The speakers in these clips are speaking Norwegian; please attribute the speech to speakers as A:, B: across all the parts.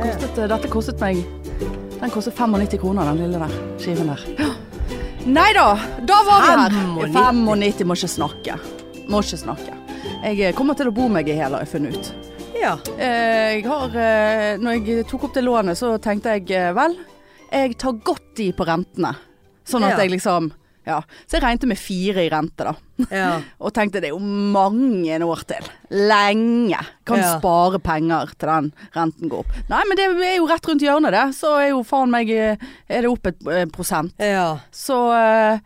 A: eh, dette kostet meg Den kostet 95 kroner, den lille der skiven der. Ja. Nei da, da var vi her.
B: 95.
A: 95, må ikke snakke. Må ikke snakke. Jeg eh, kommer til å bo meg i hæl, har jeg funnet ut.
B: Ja.
A: Eh, Jeg har, eh, når jeg tok opp det lånet, så tenkte jeg eh, vel, jeg tar godt i på rentene. Sånn at
B: Ja.
A: jeg liksom Ja. Så jeg regnet med fire i rente, da.
B: ja.
A: Og tenkte det er jo mange år til. Lenge. Kan
B: Ja.
A: spare penger til den renten går opp. Nei, men det er jo rett rundt hjørnet, det. Så er jo faen meg eh, Er det opp et eh, prosent.
B: ja.
A: Så eh,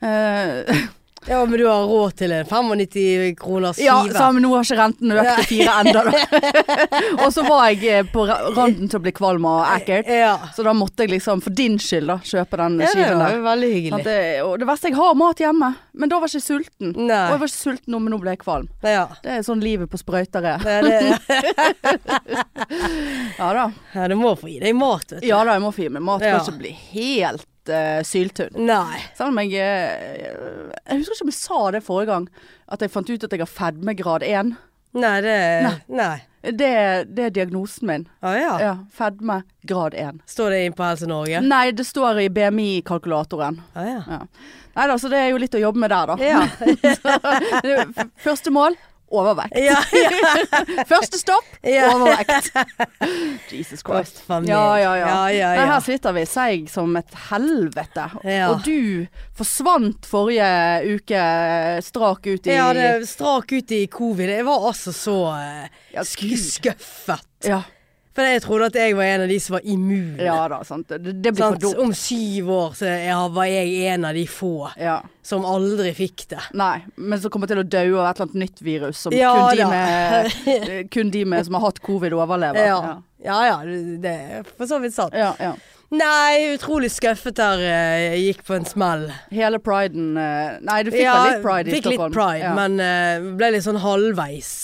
A: eh,
B: Ja, men du har råd til en 95 kroner skive.
A: Ja, så, men nå har ikke renten økt til fire ennå, da. og så var jeg eh, på ra- randen til å bli kvalm og ekkelt.
B: Ja.
A: Så da måtte jeg liksom, for din skyld da, kjøpe den
B: Ja, det
A: skiven
B: var
A: der.
B: jo veldig
A: Sånn at
B: hyggelig.
A: det, og det verste, jeg har mat hjemme, men da var jeg ikke sulten.
B: Nei.
A: Og jeg var ikke sulten nå, men nå ble jeg kvalm.
B: Ja.
A: Det er sånn livet på sprøyter er.
B: Det, det,
A: Ja da.
B: ja, du må få i deg mat, vet du.
A: Ja da, jeg må få i meg mat.
B: Ja.
A: Kan ikke bli helt eh, syltynn.
B: Nei.
A: Selv om jeg eh, Jeg husker ikke om jeg sa det forrige gang, at jeg fant ut at jeg har fedmegrad 1.
B: Nei, det Nei.
A: Det, det er diagnosen min.
B: Å ja.
A: Ja, Mm. fedme grad 1.
B: Står det inn på Helse Norge?
A: Nei, det står i BMI-kalkulatoren.
B: Å ja.
A: Ja. Nei da, så det er jo litt å jobbe med der, da.
B: Ja.
A: Så, eh, Første mål overvekt.
B: ja.
A: Første stopp
B: Ja.
A: overvekt. Jesus Christ.
B: Uff a meg.
A: Ja, ja, ja.
B: Ja, ja,
A: Nei,
B: ja.
A: her sitter vi seig som et helvete.
B: Ja.
A: Og du forsvant forrige uke eh, strak ut i
B: Jeg hadde strak ut i covid. Jeg var altså så eh,
A: Ja,
B: sk-
A: Gud.
B: skuffet.
A: ja,
B: For jeg trodde at jeg var en av de som var immune.
A: ja da, sant. Det, det blir for
B: Sant?
A: dumt.
B: Om syv år så jeg har- var jeg en av de få
A: Ja.
B: som aldri fikk det.
A: Nei, men så kommer til å dø av et eller annet nytt virus som
B: Ja,
A: kun, de
B: da.
A: med, eh, kun de med som har hatt covid, overlever.
B: Ja. ja ja, det er for så vidt sant.
A: Ja, ja.
B: Nei, utrolig skuffet der. eh, Jeg gikk på en smell.
A: Hele priden eh, Nei, du fikk vel litt pride i
B: fikk
A: Stockholm?
B: litt pride,
A: ja.
B: men eh, ble litt sånn halvveis.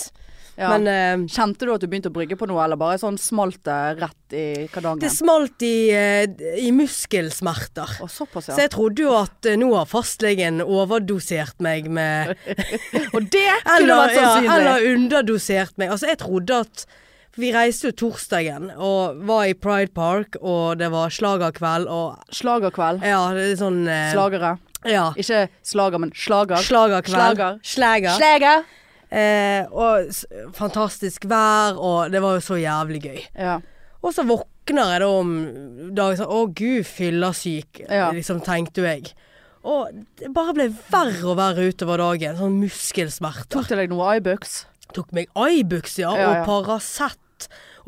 A: Ja.
B: Men eh,
A: Kjente du at du begynte å brygge på noe, eller bare sånn smalt det rett i
B: det
A: kadangen?
B: smalt i, eh, i muskelsmerter.
A: Å, såpass,
B: Så
A: ja.
B: jeg trodde jo at eh, nå har fastlegen overdosert meg med
A: Og det kunne
B: eller,
A: vært
B: ja,
A: sannsynlig.
B: eller underdosert meg. Altså, jeg trodde at for Vi reiste jo torsdagen og var i Pride Park, og det var slagerkveld og
A: Slagerkveld.
B: Ja, det er sånn eh,
A: Slagere.
B: Ja.
A: Ikke slager, men slager.
B: Slagerkveld.
A: Slager.
B: Slager.
A: Slager!
B: Eh, og s fantastisk vær, og det var jo så jævlig gøy.
A: Ja.
B: Og så våkner jeg da om dagen sånn Å gud, fyllesyk,
A: Ja.
B: liksom tenkte jo jeg. Og det bare ble verre og verre utover dagen. Sånn muskelsmerter.
A: Tok til deg noe Ibux.
B: tok meg Ibux, ja,
A: Ja, ja.
B: og Paracet.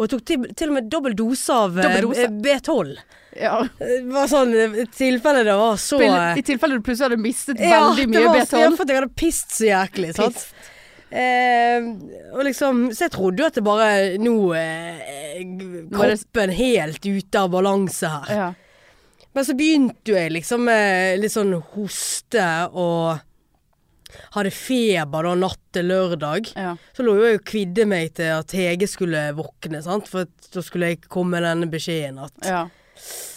B: Og jeg tok til, til og med dobbel dose av eh,
A: Dobbel dose?
B: B12.
A: Ja.
B: Det var sånn eh, tilfelle det var så eh,
A: I tilfelle du plutselig hadde mistet
B: ja,
A: veldig
B: det
A: mye
B: var så- ja,
A: B12.
B: for at jeg hadde pist så jæklig. Sant?
A: Pist.
B: Eh, og liksom, så jeg trodde jo at det bare Nå eh,
A: er det-
B: Kroppen helt ute av balanse her.
A: Ja.
B: Men så begynte jo jeg liksom med litt sånn hoste og hadde feber da natt til lørdag.
A: Ja.
B: Så lå jo jeg og kvidde meg til at Hege skulle våkne, sant? for at da skulle jeg komme med denne beskjeden at
A: Ja.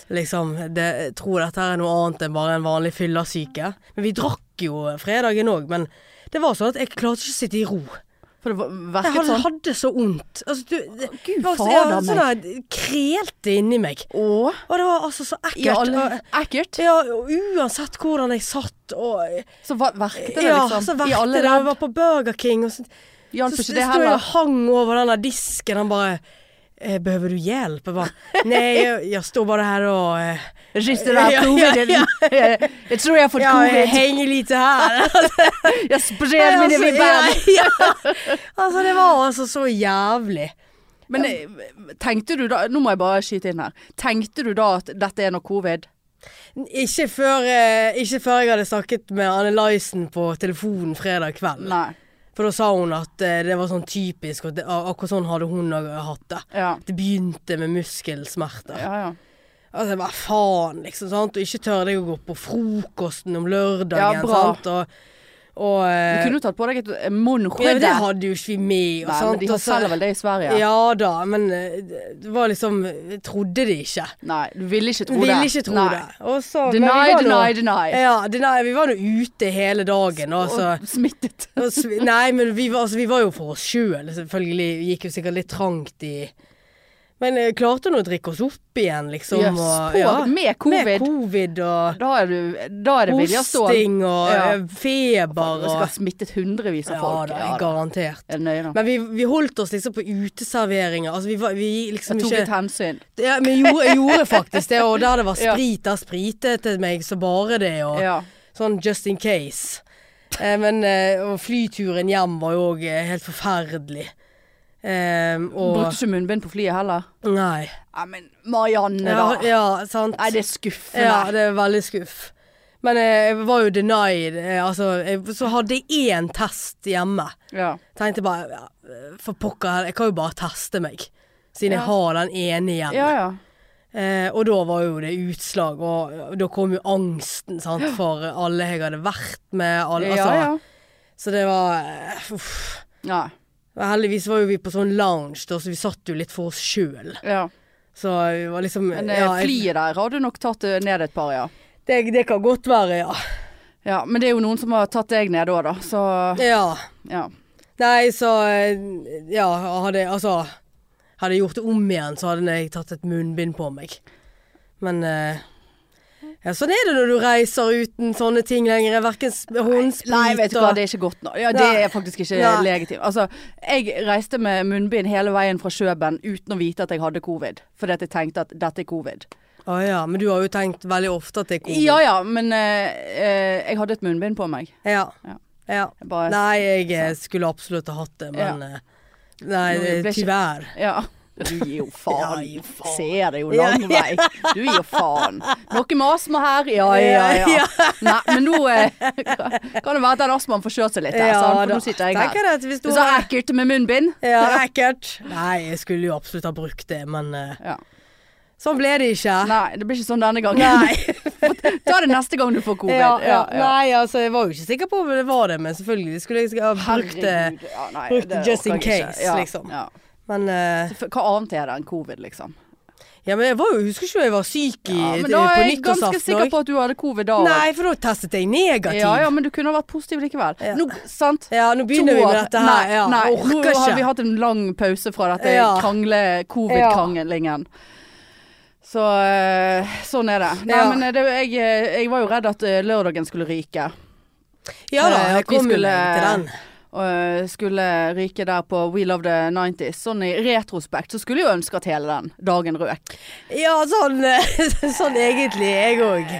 B: liksom, det, jeg tror dette her er noe annet enn bare en vanlig fyllesyke. Men vi drakk jo fredagen òg, men det var sånn at jeg klarte ikke å sitte i ro.
A: For det var-
B: Jeg
A: virket
B: hadde,
A: sånn.
B: hadde så vondt. Altså, du, det,
A: Gud,
B: det var så-
A: fader
B: jeg hadde sånn der- krelte inni meg.
A: Å,
B: Og det var altså så
A: i
B: ekkelt.
A: alle
B: Og-
A: Ekkelt.
B: Ja, og uansett hvordan jeg satt og
A: Så va- verket det,
B: Ja,
A: liksom.
B: så
A: I
B: verkte
A: alle
B: det. Jeg var
A: ledd.
B: på Burger King og sånt.
A: Hjalp
B: Så
A: ikke
B: sto
A: det
B: jeg og
A: heller.
B: hang over den der disken. Han bare eh, 'Behøver du hjelp?' Jeg bare 'Nei, jeg, jeg står bare her og eh,
A: Rister
B: Ja, ja, ja.
A: Jeg tror jeg har fått
B: Ja, jeg
A: covid.
B: henger lite her.
A: Jeg sprer mine
B: Altså,
A: vibber.
B: ja, ja. altså, det var altså så jævlig.
A: Men eh, tenkte du da Nå må jeg bare skyte inn her. Tenkte du da at dette er noe covid?
B: Ikke før, eh, ikke før jeg hadde snakket med Anne Lysen på telefonen fredag kveld.
A: Nei.
B: For da sa hun at eh, det var sånn typisk, og det, akkurat sånn hadde hun òg hatt det.
A: Ja.
B: Det begynte med muskelsmerter.
A: Ja, ja.
B: Altså, hva faen, liksom, sant? Og ikke tør deg å gå på frokosten om lørdagen,
A: Ja, bra.
B: sant? Og, og
A: Du
B: eh,
A: kunne jo tatt på deg et eh,
B: ja, men
A: munnskjede.
B: det hadde jo ikke vi med, og
A: Nei,
B: sant?
A: men de
B: og
A: har
B: så-
A: selger vel det i Sverige?
B: Ja da, men eh, det var liksom Jeg trodde det ikke.
A: Nei, du ville ikke tro det.
B: Ville ikke tro
A: Nei.
B: det. Og så, men vi
A: Deny,
B: var Eh, nå-
A: deny, deny.
B: Ja, deny. Vi var nå ute hele dagen, og så
A: Og smittet.
B: og sv- Nei, men vi var, altså, vi var jo for oss sjøl, selvfølgelig. Gikk jo sikkert litt trangt i Men jeg klarte nå å drikke oss opp igjen, liksom.
A: Jøss,
B: og,
A: på- med covid.
B: Med covid og
A: Da er, du, da er det vilje å stå.
B: hosting og
A: Ja.
B: eh, feber
A: Du skal ha
B: og
A: smittet hundrevis av
B: Ja
A: folk.
B: da,
A: Ja da.
B: garantert.
A: Er det nøye nå?
B: Men vi, vi holdt oss liksom på uteserveringer. Altså vi, var, vi liksom
A: Jeg tok litt
B: ikke
A: hensyn.
B: ja, Men gjorde, jeg gjorde faktisk det, og der det var
A: Ja.
B: sprit, der spritet det meg så bare det, og
A: Ja.
B: sånn just in case. Eh, men eh, og flyturen hjem var jo òg helt forferdelig. Eh, og
A: Brukte ikke munnbind på flyet heller.
B: Nei.
A: Nei, men Marianne, da.
B: Ja, ja, sant.
A: Nei, det er skuffende.
B: Ja, det er veldig skuff. Men eh, jeg var jo denied. eh, Altså, jeg, så hadde jeg én test hjemme.
A: Ja.
B: Tenkte bare ja, eh, For pokker, jeg kan jo bare teste meg. Siden
A: Ja.
B: jeg har den ene igjen.
A: ja, ja.
B: Eh, og da var jo det utslag, og, og da kom jo angsten sant, for alle jeg hadde vært med. Alle,
A: ja,
B: altså,
A: ja.
B: Så det var eh, uff.
A: Nei,
B: Men Heldigvis var jo vi på sånn lounge, da, så vi satt jo litt for oss sjøl.
A: ja.
B: Så vi var liksom
A: Men eh,
B: ja, jeg-
A: flyet der har du nok tatt eh, ned et par, ja.
B: det, det kan godt være, ja.
A: ja. Men det er jo noen som har tatt deg ned òg, da. Så
B: ja.
A: ja.
B: Nei, så eh, Ja, hadde altså Hadde jeg gjort det om igjen, så hadde jeg tatt et munnbind på meg. Men eh, ja, sånn er det når du reiser uten sånne ting lenger. Verken s- håndsprit
A: Nei, vet du hva,
B: og-
A: det er ikke godt nå. Ja, det
B: Nei.
A: er faktisk ikke
B: Nei.
A: legitimt. Altså, jeg reiste med munnbind hele veien fra Kjøben uten å vite at jeg hadde covid. Fordi at jeg tenkte at dette er covid.
B: Å ja, men du har jo tenkt veldig ofte at det er covid.
A: Ja ja, men eh, eh, jeg hadde et munnbind på meg.
B: Ja.
A: Ja.
B: Ja.
A: Jeg Bare,
B: Nei, jeg eh, skulle absolutt ha hatt det, men eh, Nei,
A: Men det ble ikke-
B: tyvær.
A: Ja. Du gir jo faen.
B: Ja, gir faen.
A: Ser det jo lang vei. Du gir jo faen. Noe med astma her, ja ja ja.
B: Ja,
A: Nei, men nå eh, kan det være at den astmaen får kjørt seg litt her, sant? sånn, for nå sitter jeg
B: tenker
A: her.
B: jeg at hvis du
A: Det er så ekkelt med munnbind.
B: Ja, ekkelt. Nei, jeg skulle jo absolutt ha brukt det, men eh,
A: Ja.
B: sånn ble det ikke.
A: Nei, det blir ikke sånn denne gangen.
B: Nei.
A: Ta det neste gang du får covid.
B: Ja, ja, Nei, altså, jeg var jo ikke sikker på om det var det, men selvfølgelig skulle jeg sikkert ha brukt det.
A: Herregud. Ja, nei,
B: brukt
A: det
B: just in
A: orker jeg
B: case,
A: ikke. ja,
B: liksom.
A: Ja.
B: Men, eh,
A: Så f- Hva annet er det enn covid, liksom?
B: ja, men jeg var jo, husker ikke jeg var syk i,
A: Ja, men
B: til-
A: da
B: på
A: er jeg ganske
B: nyttårsaften
A: sikker
B: òg.
A: på at du hadde covid da.
B: Nei, for da testet jeg negativ.
A: Ja, ja, men du kunne ha vært positiv likevel.
B: Ja.
A: Nå, sant?
B: Ja, nå begynner
A: To
B: vi med
A: år.
B: dette her.
A: Nei,
B: ja,
A: nei.
B: jeg orker
A: Nå har
B: ikke.
A: vi hatt en lang pause fra dette
B: Ja.
A: krangle, covid-kranglingen. Så eh, sånn er det. Nei,
B: Ja.
A: men eh, det, jeg, eh, jeg var jo redd at eh, lørdagen skulle ryke.
B: Ja da,
A: eh,
B: jeg
A: at vi
B: kom jo
A: skulle-
B: til den.
A: Og eh, skulle ryke der på We Love the 90s. Sånn i retrospekt så skulle jeg jo ønske at hele den dagen røk.
B: Ja, sånn, eh, sånn egentlig, jeg òg.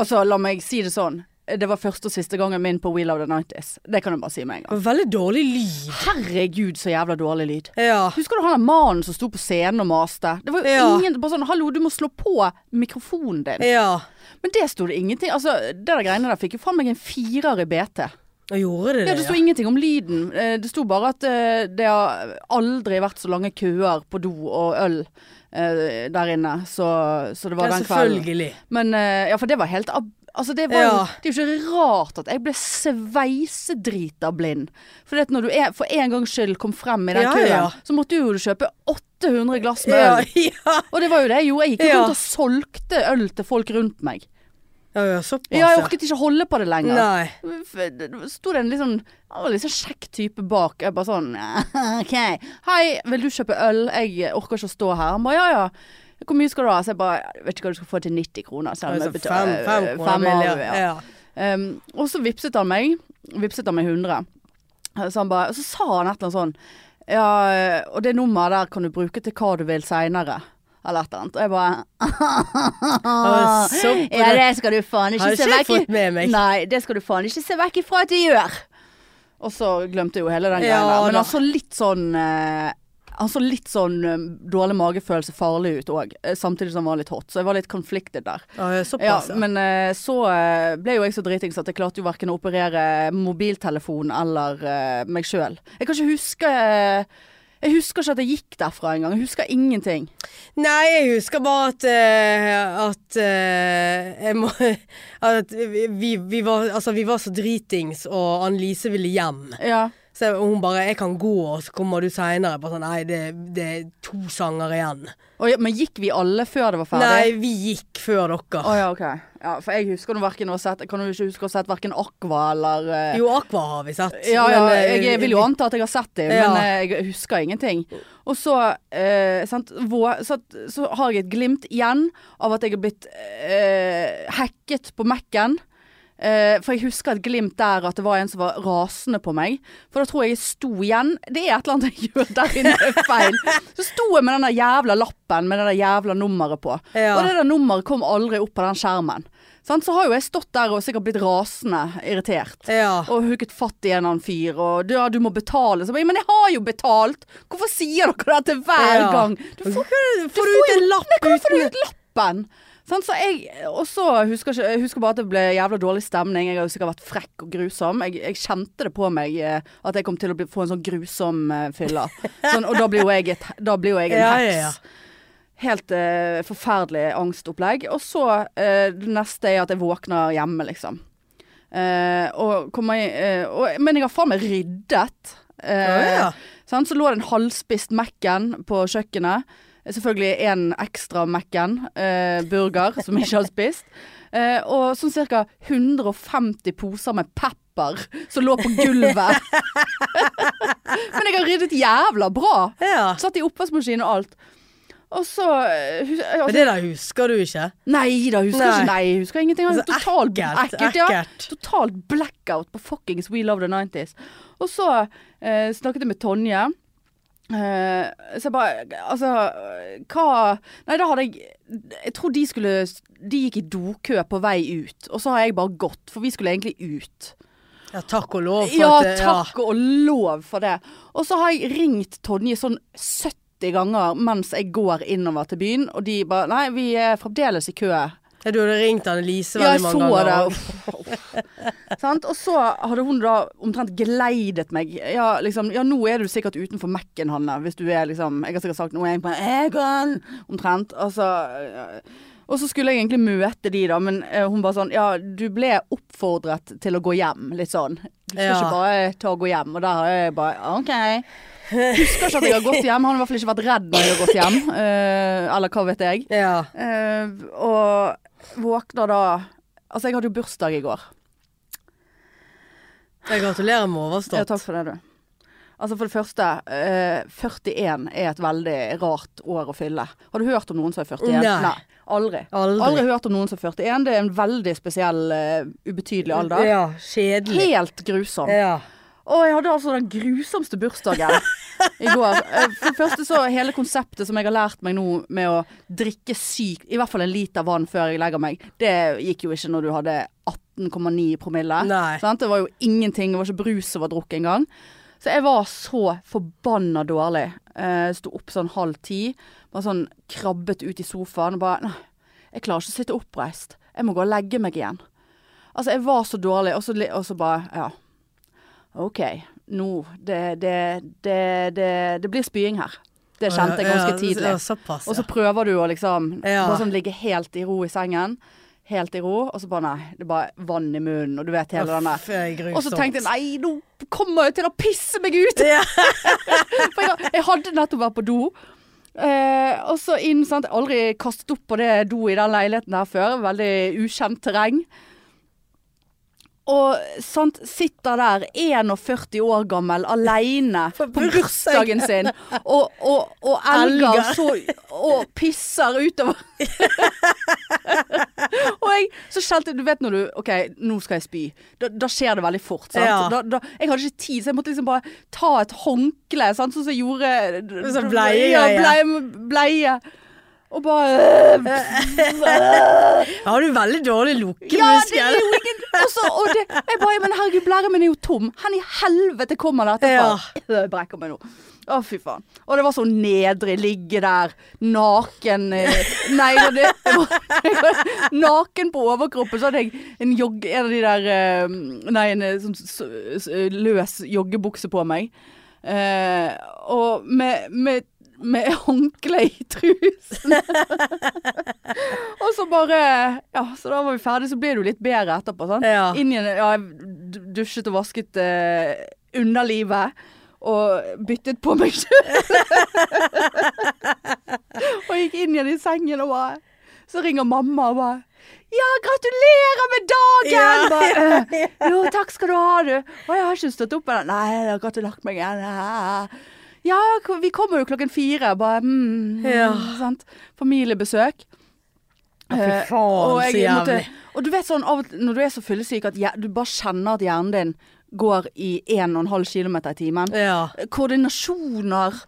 A: Altså, la meg si det sånn. Det var første og siste gangen min på We Love the 90s. Det kan jeg bare si med en gang.
B: Veldig dårlig lyd.
A: Herregud, så jævla dårlig lyd.
B: Ja.
A: Husker du han der mannen som sto på scenen og maste? Det var jo
B: Ja. Eh.
A: ingen Bare sånn 'hallo, du må slå på mikrofonen din'.
B: ja.
A: Men det sto det ingenting Altså, det der greiene der fikk jo faen meg en firer i BT.
B: Og gjorde det
A: Ja,
B: det?
A: det sto ingenting om lyden. Eh, Det sto bare at eh, det har aldri vært så lange køer på do og øl eh, der inne, så, så det var
B: Ja,
A: den kvelden.
B: selvfølgelig.
A: Men eh, ja, for det var helt ab Altså, det, var, jo-
B: Ja.
A: det er jo ikke rart at jeg ble sveisedrita blind. For når du er, for en gangs skyld kom frem i den
B: Ja,
A: køen,
B: ja.
A: så måtte du jo kjøpe 800 glass med
B: Ja,
A: øl.
B: ja.
A: Og det var jo det jeg gjorde. Jeg gikk jo
B: Ja.
A: rundt og solgte øl til folk rundt meg.
B: Ja, ja, såpass.
A: Ja, jeg orket ikke holde på det lenger.
B: Nei.
A: F- det Sto det en litt sånn Han var litt sånn kjekk type bak. Jeg bare sånn OK. Hei, vil du kjøpe øl? Jeg orker ikke å stå her. Han bare ja, ja. Hvor mye skal du ha? Så jeg bare jeg vet ikke hva du skal få til 90 kroner. Så jeg
B: Altså,
A: betalte,
B: fem, fem
A: eh,
B: kroner
A: fem av,
B: billigere.
A: ja.
B: Ja.
A: um, Og så vipset han meg. Vipset han meg 100. Så han bare Så sa han et eller annet sånn Ja, og det nummeret der kan du bruke til hva du vil seinere. Eller et eller annet. Og jeg bare
B: Ah, så
A: Ja, det skal du faen ikke
B: Har
A: se
B: ikke jeg
A: vekk i.
B: fått med meg.
A: Nei, det skal du faen ikke se vekk ifra at de gjør. Og så glemte jeg jo hele den
B: Ja,
A: greia der. Men
B: da.
A: han så litt sånn eh, Han så litt sånn eh, dårlig magefølelse farlig ut òg, eh, samtidig som han var litt hot. Så jeg var litt conflicted der.
B: Ah, ja,
A: Ja,
B: såpass, ja.
A: men eh, så eh, ble jo jeg så dritings at jeg klarte jo verken å operere mobiltelefon eller eh, meg sjøl. Jeg kan ikke huske eh, Jeg husker ikke at jeg gikk derfra engang. Jeg husker ingenting.
B: Nei, jeg husker bare at eh, At eh, jeg må At vi, vi, var, altså, vi var så dritings, og Annelise ville hjem.
A: Ja.
B: Så og hun bare 'Jeg kan gå, og så kommer du seinere'. Bare sånn Nei, det, det er to sanger igjen.
A: Oi, men gikk vi alle før det var ferdig?
B: Nei, vi gikk før dere.
A: Å ja, OK. Ja, for jeg husker nå hverken å ha sett Kan jo ikke huske å ha sett verken Aqua eller eh,
B: Jo, Aqua har vi sett.
A: Ja, ja,
B: men, eh,
A: jeg vil jo anta at jeg har sett det,
B: Ja.
A: men eh, jeg husker ingenting. Og så, eh, sant, vå- så, at- så har jeg et glimt igjen av at jeg har blitt eh, hacket på Mac-en. Eh, for jeg husker et glimt der at det var en som var rasende på meg. For da tror jeg jeg sto igjen. Det er et eller annet jeg gjør der inne feil. Så sto jeg med den der jævla lappen med det der jævla nummeret på.
B: Ja.
A: Og det der nummeret kom aldri opp på den skjermen. Sant? Så har jo jeg stått der og sikkert blitt rasende irritert.
B: Ja.
A: Og hooket fatt i en eller annen fyr, og du, ja, du må betale. Så, jeg bare, men jeg har jo betalt! Hvorfor sier dere dette hver
B: Ja.
A: gang? Du får
B: Får du ut en lapp
A: Hvorfor
B: uten
A: får du ut lappen? Sånn, så jeg, og så husker ikke, jeg husker bare at det ble jævla dårlig stemning. Jeg har jo sikkert vært frekk og grusom. Jeg, jeg kjente det på meg eh, at jeg kom til å bli, få en sånn grusom uh, fylla. Sånn, og da blir jo jeg, et, da blir jo jeg en
B: Ja,
A: heks.
B: ja, ja.
A: Helt eh, forferdelig angstopplegg. Og så eh, det neste er at jeg våkner hjemme, liksom. Eh, og kommer jeg, eh, og, men jeg har faen meg ryddet. Eh,
B: Ja, ja.
A: Sant? Så lå det en halvspist Mac-en på kjøkkenet. Eh, Selvfølgelig en ekstra Mac-en, eh, burger, som jeg ikke hadde spist. Eh, og sånn ca. 150 poser med pepper som lå på gulvet. Men jeg har ryddet jævla bra.
B: Ja.
A: Satt i oppvaskmaskinen og alt. Og så eh, hus-
B: Men
A: altså,
B: det der husker du ikke.
A: Nei da, husker
B: Nei.
A: ikke. Nei, jeg husker ingenting.
B: Altså,
A: Totalt
B: ekkelt,
A: ja.
B: ekkelt.
A: Totalt blackout på fuckings We Love The 90s. Og så eh, snakket jeg med Tonje. Eh, så jeg bare Altså, hva Nei, da hadde jeg Jeg tror de skulle De gikk i dokø på vei ut, og så har jeg bare gått, for vi skulle egentlig ut.
B: Ja, takk og lov for
A: Ja,
B: at eh,
A: takk og lov for det. Og så har jeg ringt Tonje sånn 70 ganger mens jeg går innover til byen, og de bare Nei, vi er fremdeles i kø.
B: Ja, du hadde ringt Annelise
A: Ja, jeg
B: veldig
A: så
B: mange ganger.
A: det. Uff. Sant? Og så hadde hun da omtrent geleidet meg. Ja, liksom, ja nå er du sikkert utenfor Mac-en, Hanne. Hvis du er liksom Jeg har sikkert sagt noe jeg på Egon! Omtrent. Altså ja. Og så skulle jeg egentlig møte de, da, men eh, hun bare sånn Ja, du ble oppfordret til å gå hjem, litt sånn. Du skal
B: Ja.
A: ikke bare ta og gå hjem. Og der har jeg bare OK. Husker ikke at jeg har gått hjem. Han har i hvert fall ikke vært redd når jeg har gått hjem. Eh, eller hva vet jeg.
B: Ja.
A: Eh, og våkner da Altså, jeg hadde jo bursdag i går.
B: Jeg gratulerer med
A: Ja,
B: overstått.
A: takk for det, du. Altså, for det første, eh, 41 er et veldig rart år å fylle. Har du hørt om noen som er 41?
B: Nei.
A: aldri.
B: Aldri.
A: hørt om noen som er 41. Det er en veldig spesiell, eh, ubetydelig alder.
B: Ja, kjedelig.
A: Helt grusom.
B: Ja.
A: Og jeg hadde altså den grusomste bursdagen i går. Eh, For det første så hele konseptet som jeg har lært meg nå med å drikke sykt, i hvert fall en liter vann før jeg legger meg, det gikk jo ikke når du hadde 18,9 i promille.
B: Nei.
A: Sant? Det var jo ingenting, det var ikke brus som var drukket engang. Så jeg var så forbanna dårlig. Eh, Sto opp sånn halv ti, bare sånn krabbet ut i sofaen og bare Nei, jeg klarer ikke å sitte oppreist. Jeg må gå og legge meg igjen. Altså, jeg var så dårlig, og så, li- og så bare Ja. OK, nå det, det, det, det, det blir spying her. Det kjente jeg ganske tidlig.
B: Ja, såpass,
A: Og
B: ja.
A: så prøver du å liksom
B: Ja.
A: bare sånn ligge helt i ro i sengen. Helt i ro, og så bare nei. Det er bare vann i munnen, og du vet hele den der.
B: Uff, eh, grusomt.
A: Og så tenkte jeg nei, nå kommer jeg til å pisse meg ut!
B: Ja.
A: For jeg, jeg hadde nettopp vært på do. Eh, og så inn, sant. Jeg har Aldri kastet opp på det do i den leiligheten her før. Veldig ukjent terreng. Og sant, sitter der 41 år gammel aleine på
B: bursdag.
A: bursdagen sin og, og, og elger
B: Elger.
A: så, og pisser utover Og jeg så skjelte Du vet når du OK, nå skal jeg spy. Da, da skjer det veldig fort. Sant?
B: Ja.
A: Da, da, jeg hadde ikke tid, så jeg måtte liksom bare ta et håndkle, sant? sånn som jeg gjorde
B: Sånn bleie,
A: Ja,
B: ja.
A: bleie, bleie. Og bare
B: Ja, Har du veldig dårlig
A: Ja, det er
B: lukkemuskel?
A: jo ingen og så- og det, Jeg bare Men herregud, blæren min er jo tom. Hvor i helvete kommer det etterpå? Jeg brekker meg nå. Å, fy faen. Og det var så nedrig. Ligge der naken eh, Nei, det, det jeg var, Naken på overkroppen. Så hadde jeg en, jogg, en av de der eh, Nei, en eh, sånn s- s- løs joggebukse på meg. Eh, og med, med, med håndkle i trusen. og så bare Ja, så da var vi ferdig, så ble det jo litt bedre etterpå. Sant?
B: Ja.
A: Inn igjen, ja, jeg d- dusjet og vasket eh, underlivet og byttet på meg sjøl. og gikk inn igjen i sengen og bare Så ringer mamma og bare ja, gratulerer med dagen!
B: Ja.
A: Bare, «Øh, jo, takk skal du ha, du. Å, jeg har ikke stått opp ennå. Nei, jeg har gått og lagt meg igjen. Ja, vi kommer jo klokken fire. Bare mm,
B: Ja.
A: sant? Familiebesøk.
B: Fy
A: Eh,
B: faen,
A: og,
B: så
A: jeg måtte,
B: jævlig.
A: og du vet sånn av og til når du er så fyllesyk at hjer- du bare kjenner at hjernen din går i 1,5 km i timen.
B: Ja.
A: Koordinasjoner,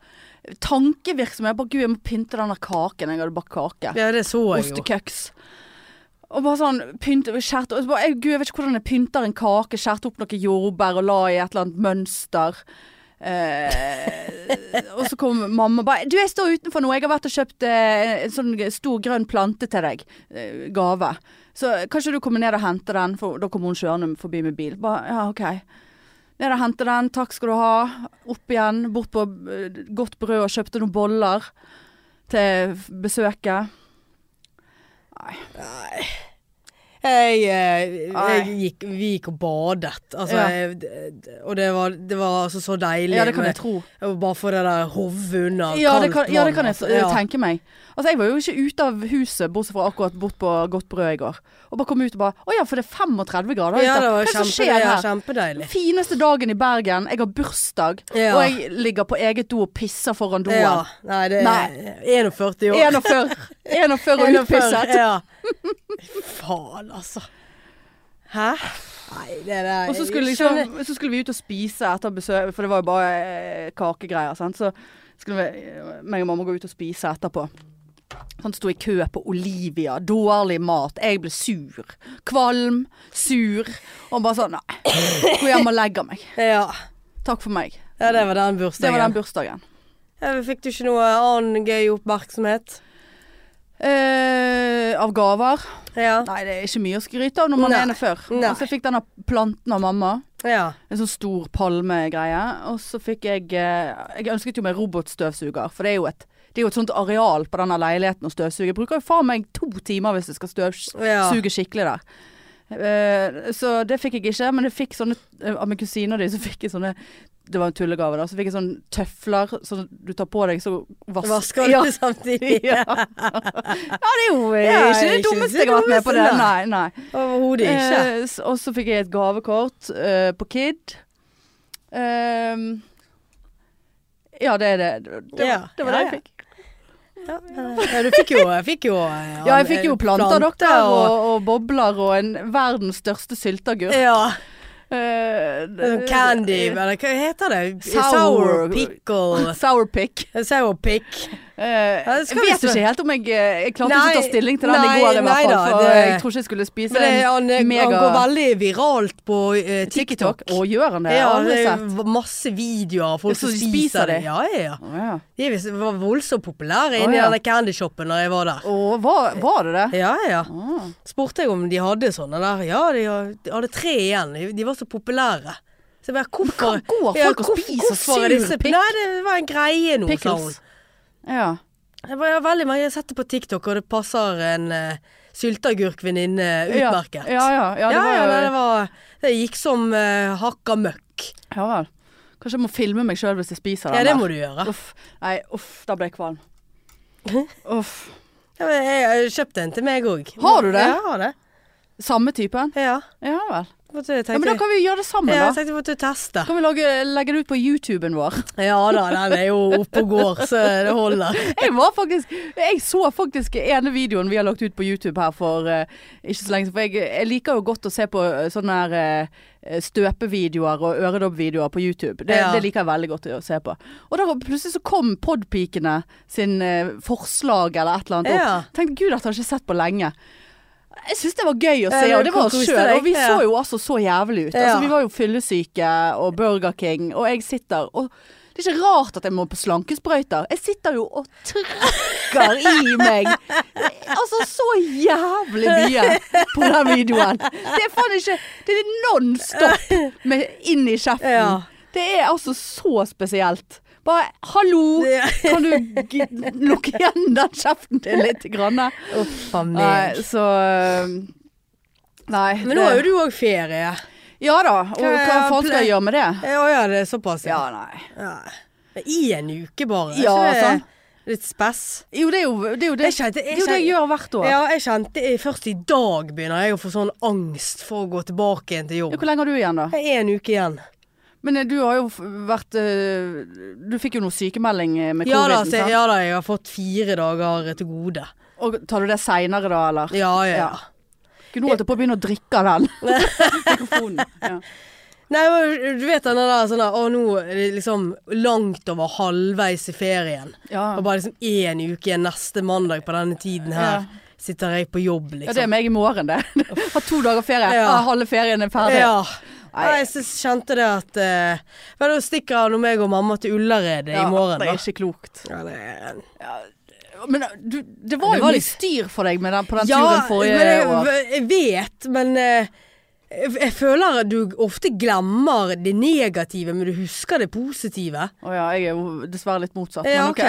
A: tankevirksomhet. Bare gud, jeg må pynte den der kaken. Jeg hadde bakt kake.
B: ja, det så jeg jo.
A: Ostekøks. Og bare sånn pynte skjært, og så bare, jeg, Gud, jeg vet ikke hvordan jeg pynter en kake. Skjært opp noen jordbær og la i et eller annet mønster. Eh, og så kom mamma og bare 'Du, jeg står utenfor nå. Jeg har vært og kjøpt eh, en sånn stor grønn plante til deg. Eh, gave. Så kanskje du kommer ned og henter den?' For da kommer hun kjørende forbi med bil. Bare, ja, ok. Ned og hente den. Takk skal du ha. Opp igjen. Bort på eh, godt brød og kjøpte noen boller til f- besøket.
B: Jeg, eh, jeg
A: Nei.
B: gikk, vi gikk og badet. Altså,
A: Ja.
B: jeg, d- d- og det var, det var altså så deilig.
A: Ja, det kan
B: med-
A: jeg tro.
B: og bare få det der hovet unna.
A: Ja, det
B: kaldt
A: kan, ja, det kan
B: vann, altså.
A: jeg eh,
B: Ja.
A: tenke meg. Altså, jeg var jo ikke ute av huset, bortsett fra akkurat bort på Godt brød i går. Og bare kom ut og bare Å ja, for det er 35 grader ute.
B: Ja, det var
A: Hva er det som
B: kjempe,
A: skjer
B: ja,
A: her?
B: kjempedeilig.
A: Fineste dagen i Bergen. Jeg har bursdag,
B: Ja.
A: og jeg ligger på eget do og pisser foran doen.
B: Ja. Nei, det
A: Nei.
B: er 41 år.
A: 41 41 og
B: 41,
A: utpisset.
B: Ja. Faen, altså. Hæ? Nei, det der
A: Og så skulle,
B: jeg
A: liksom,
B: skjønner-
A: så skulle vi ut og spise etter besøk, for det var jo bare eh, kakegreier. Sant? Så skulle vi, meg og mamma gå ut og spise etterpå. Han sto i kø på Olivia. Dårlig mat. Jeg ble sur. Kvalm. Sur. Og bare sånn Nei. Gå hjem og legge meg.
B: Ja.
A: Takk for meg.
B: ja, det var den
A: Det
B: bursdagen.
A: var den bursdagen.
B: ja, men fikk du ikke noe annen gøy oppmerksomhet?
A: Eh, av gaver.
B: Ja.
A: Nei, det er ikke mye å skryte av når man
B: Nei.
A: er ene før.
B: Nei.
A: Og så fikk denne planten av mamma.
B: ja.
A: En sånn stor palmegreie. Og så fikk jeg eh, Jeg ønsket jo meg robotstøvsuger, for det er jo et det er jo et sånt areal på denne leiligheten å støvsuge. Jeg bruker jo faen meg to timer hvis jeg skal støvsuge
B: Ja.
A: skikkelig der. Eh, så det fikk jeg ikke, men jeg fikk sånne eh, Av min kusine og de så fikk jeg sånne Det var en tullegave, da. Så fikk jeg sånne tøfler som du tar på deg, så vas
B: Vasker du
A: Ja.
B: samtidig?
A: ja. ja, det er jo eh,
B: Ja,
A: ikke det
B: ikke
A: dummeste
B: det
A: jeg har vært med på det.
B: dummeste, nei.
A: Nei, nei.
B: Overhodet ikke.
A: Eh, s- og så fikk jeg et gavekort eh, på Kid. Ehm, ja, det er det. Det var,
B: Ja.
A: det, var
B: Ja, ja.
A: det jeg fikk.
B: Ja, du fikk jo, jeg fikk jo eh,
A: Ja, jeg fikk jo planter, dere,
B: og-
A: og, og bobler og en verdens største sylteagurk.
B: Ja.
A: Eh,
B: sånn
A: det-
B: Candy, eller hva heter det?
A: Sour-
B: Sour pickle.
A: Sour pick.
B: Sour pick.
A: Eh,
B: det
A: jeg
B: skal vi
A: vet
B: se.
A: ikke helt om jeg eh, Jeg klarte
B: Nei,
A: ikke å ta stilling til den
B: nei,
A: i går, i
B: nei
A: hvert fall.
B: da,
A: For
B: det-
A: jeg tror ikke jeg skulle spise
B: Men det, han,
A: en mega
B: han går veldig viralt på eh,
A: TikTok.
B: TikTok.
A: Å, gjør han det? Jeg
B: ja,
A: har aldri
B: det er
A: sett.
B: v- masse videoer av folk
A: Ja, så
B: som
A: de
B: spiser,
A: spiser
B: det.
A: det?
B: Ja, ja, ja.
A: Å, ja.
B: De vis- var voldsomt populære inne
A: Å, ja.
B: i den candyshopen da jeg var der.
A: Å, var, var det Ah. det?
B: Ja, ja.
A: Å.
B: Spurte jeg om de hadde sånne der. Ja, de har- de hadde tre igjen. De- De var så populære. Så jeg bare, hvorfor
A: går folk og
B: hvor-
A: spiser
B: hvorfor er disse-
A: sur pikk?
B: Nei, det var en greie nå, sa hun.
A: Pickles. Ja.
B: Jeg bare, ja, veldig mange. Jeg har sett det på TikTok, og det passer en uh, sylteagurkvenninne
A: Ja.
B: utmerket.
A: Ja, ja. ja,
B: Ja,
A: det var,
B: ja,
A: jo-
B: nei, det, var, det gikk som uh, hakka møkk.
A: Ja vel. Kanskje jeg må filme meg sjøl hvis jeg spiser den
B: Ja, det
A: der.
B: må du gjøre.
A: Uff. Nei, uff, da ble jeg kvalm. Uff.
B: Ja, men jeg, jeg kjøpte en til meg òg.
A: Har du det?
B: Ja, jeg har det.
A: Samme typen?
B: Ja.
A: Ja vel.
B: Måtte, jeg
A: Ja, men
B: tenkte,
A: da kan vi jo gjøre det sammen,
B: ja, jeg
A: da.
B: tenkte jeg måtte teste.
A: Kan vi lage, legge det ut på YouTuben vår?
B: Ja da, den er jo oppe og går, så det holder.
A: Jeg var faktisk Jeg så faktisk ene videoen vi har lagt ut på YouTube her for eh, ikke så lenge siden. For jeg, jeg liker jo godt å se på eh, sånne her eh, støpevideoer og øredobbvideoer på YouTube. Det,
B: Ja.
A: det liker jeg veldig godt å se på. Og da plutselig så kom Podpikene sin eh, forslag eller et eller annet
B: Ja.
A: opp. Tenkte gud, dette har jeg ikke sett på lenge. Jeg syns det var gøy å se,
B: Ja,
A: og det var oss
B: koste
A: sjøl.
B: deg,
A: Og vi
B: ja.
A: så jo altså så jævlig ut.
B: Ja.
A: Altså, vi var jo fyllesyke og Burger King, og jeg sitter og det er ikke rart at jeg må på slankesprøyter. Jeg sitter jo og trykker i meg Altså så jævlig mye på den videoen. Det er faen ikke Det er non stop med inn i kjeften.
B: Ja.
A: Det er altså så spesielt. Bare hallo,
B: Ja.
A: kan du g lukke igjen den kjeften din litt? Grann?
B: Uff a
A: Nei,
B: meg.
A: så øh, Nei.
B: Men nå har jo du òg ferie.
A: Ja da, og
B: Hva-
A: hva faen skal jeg gjøre med det?
B: Ja, Å ja, det er såpass,
A: Ja,
B: ja.
A: nei.
B: ja. Men I en uke, bare. Er
A: Ja,
B: ikke det
A: sånn.
B: Litt spess.
A: Jo, det er jo det, er jo det,
B: Jeg kjente- jeg
A: det, er jo det jeg gjør hvert år.
B: Ja, jeg kjente Først i dag begynner jeg å få sånn angst for å gå tilbake igjen til
A: Ja,
B: jobb.
A: Hvor lenge har du igjen, da?
B: Det er en uke igjen.
A: Men eh, du har jo f- vært eh, Du fikk jo noe sykemelding eh, med
B: Ja da,
A: covid-en,
B: så,
A: sant?
B: ja da, jeg har fått fire dager til gode.
A: Og tar du det seinere da, eller?
B: Ja, ja, ja.
A: Ja. Gud, nå holdt jeg på å begynne å drikke av den mikrofonen. Ja.
B: Nei, men du vet den der sånn der Å, nå er det liksom langt over halvveis i ferien.
A: Ja.
B: Og bare liksom én uke igjen neste mandag på denne tiden her.
A: Ja.
B: Sitter jeg på jobb,
A: ja, det er
B: liksom.
A: meg i morgen, det. Har to dager ferie.
B: Ja.
A: Ah, halve ferien er ferdig.
B: Ja.
A: Nei.
B: Nei, jeg synes, kjente det at eh, Vel, da stikker han og meg og mamma til Ullared i
A: Ja,
B: morgen,
A: Det
B: da.
A: er ikke klokt.
B: Ja, det er
A: Men eh, du, det var
B: Det
A: jo
B: var
A: mye
B: litt-
A: styr for deg med den, på den
B: Ja,
A: turen forrige
B: men jeg,
A: år.
B: jeg vet, men eh, jeg, jeg føler at du ofte glemmer det negative, men du husker det positive.
A: Å ja, jeg er jo dessverre litt motsatt.
B: Ja,
A: men
B: ok.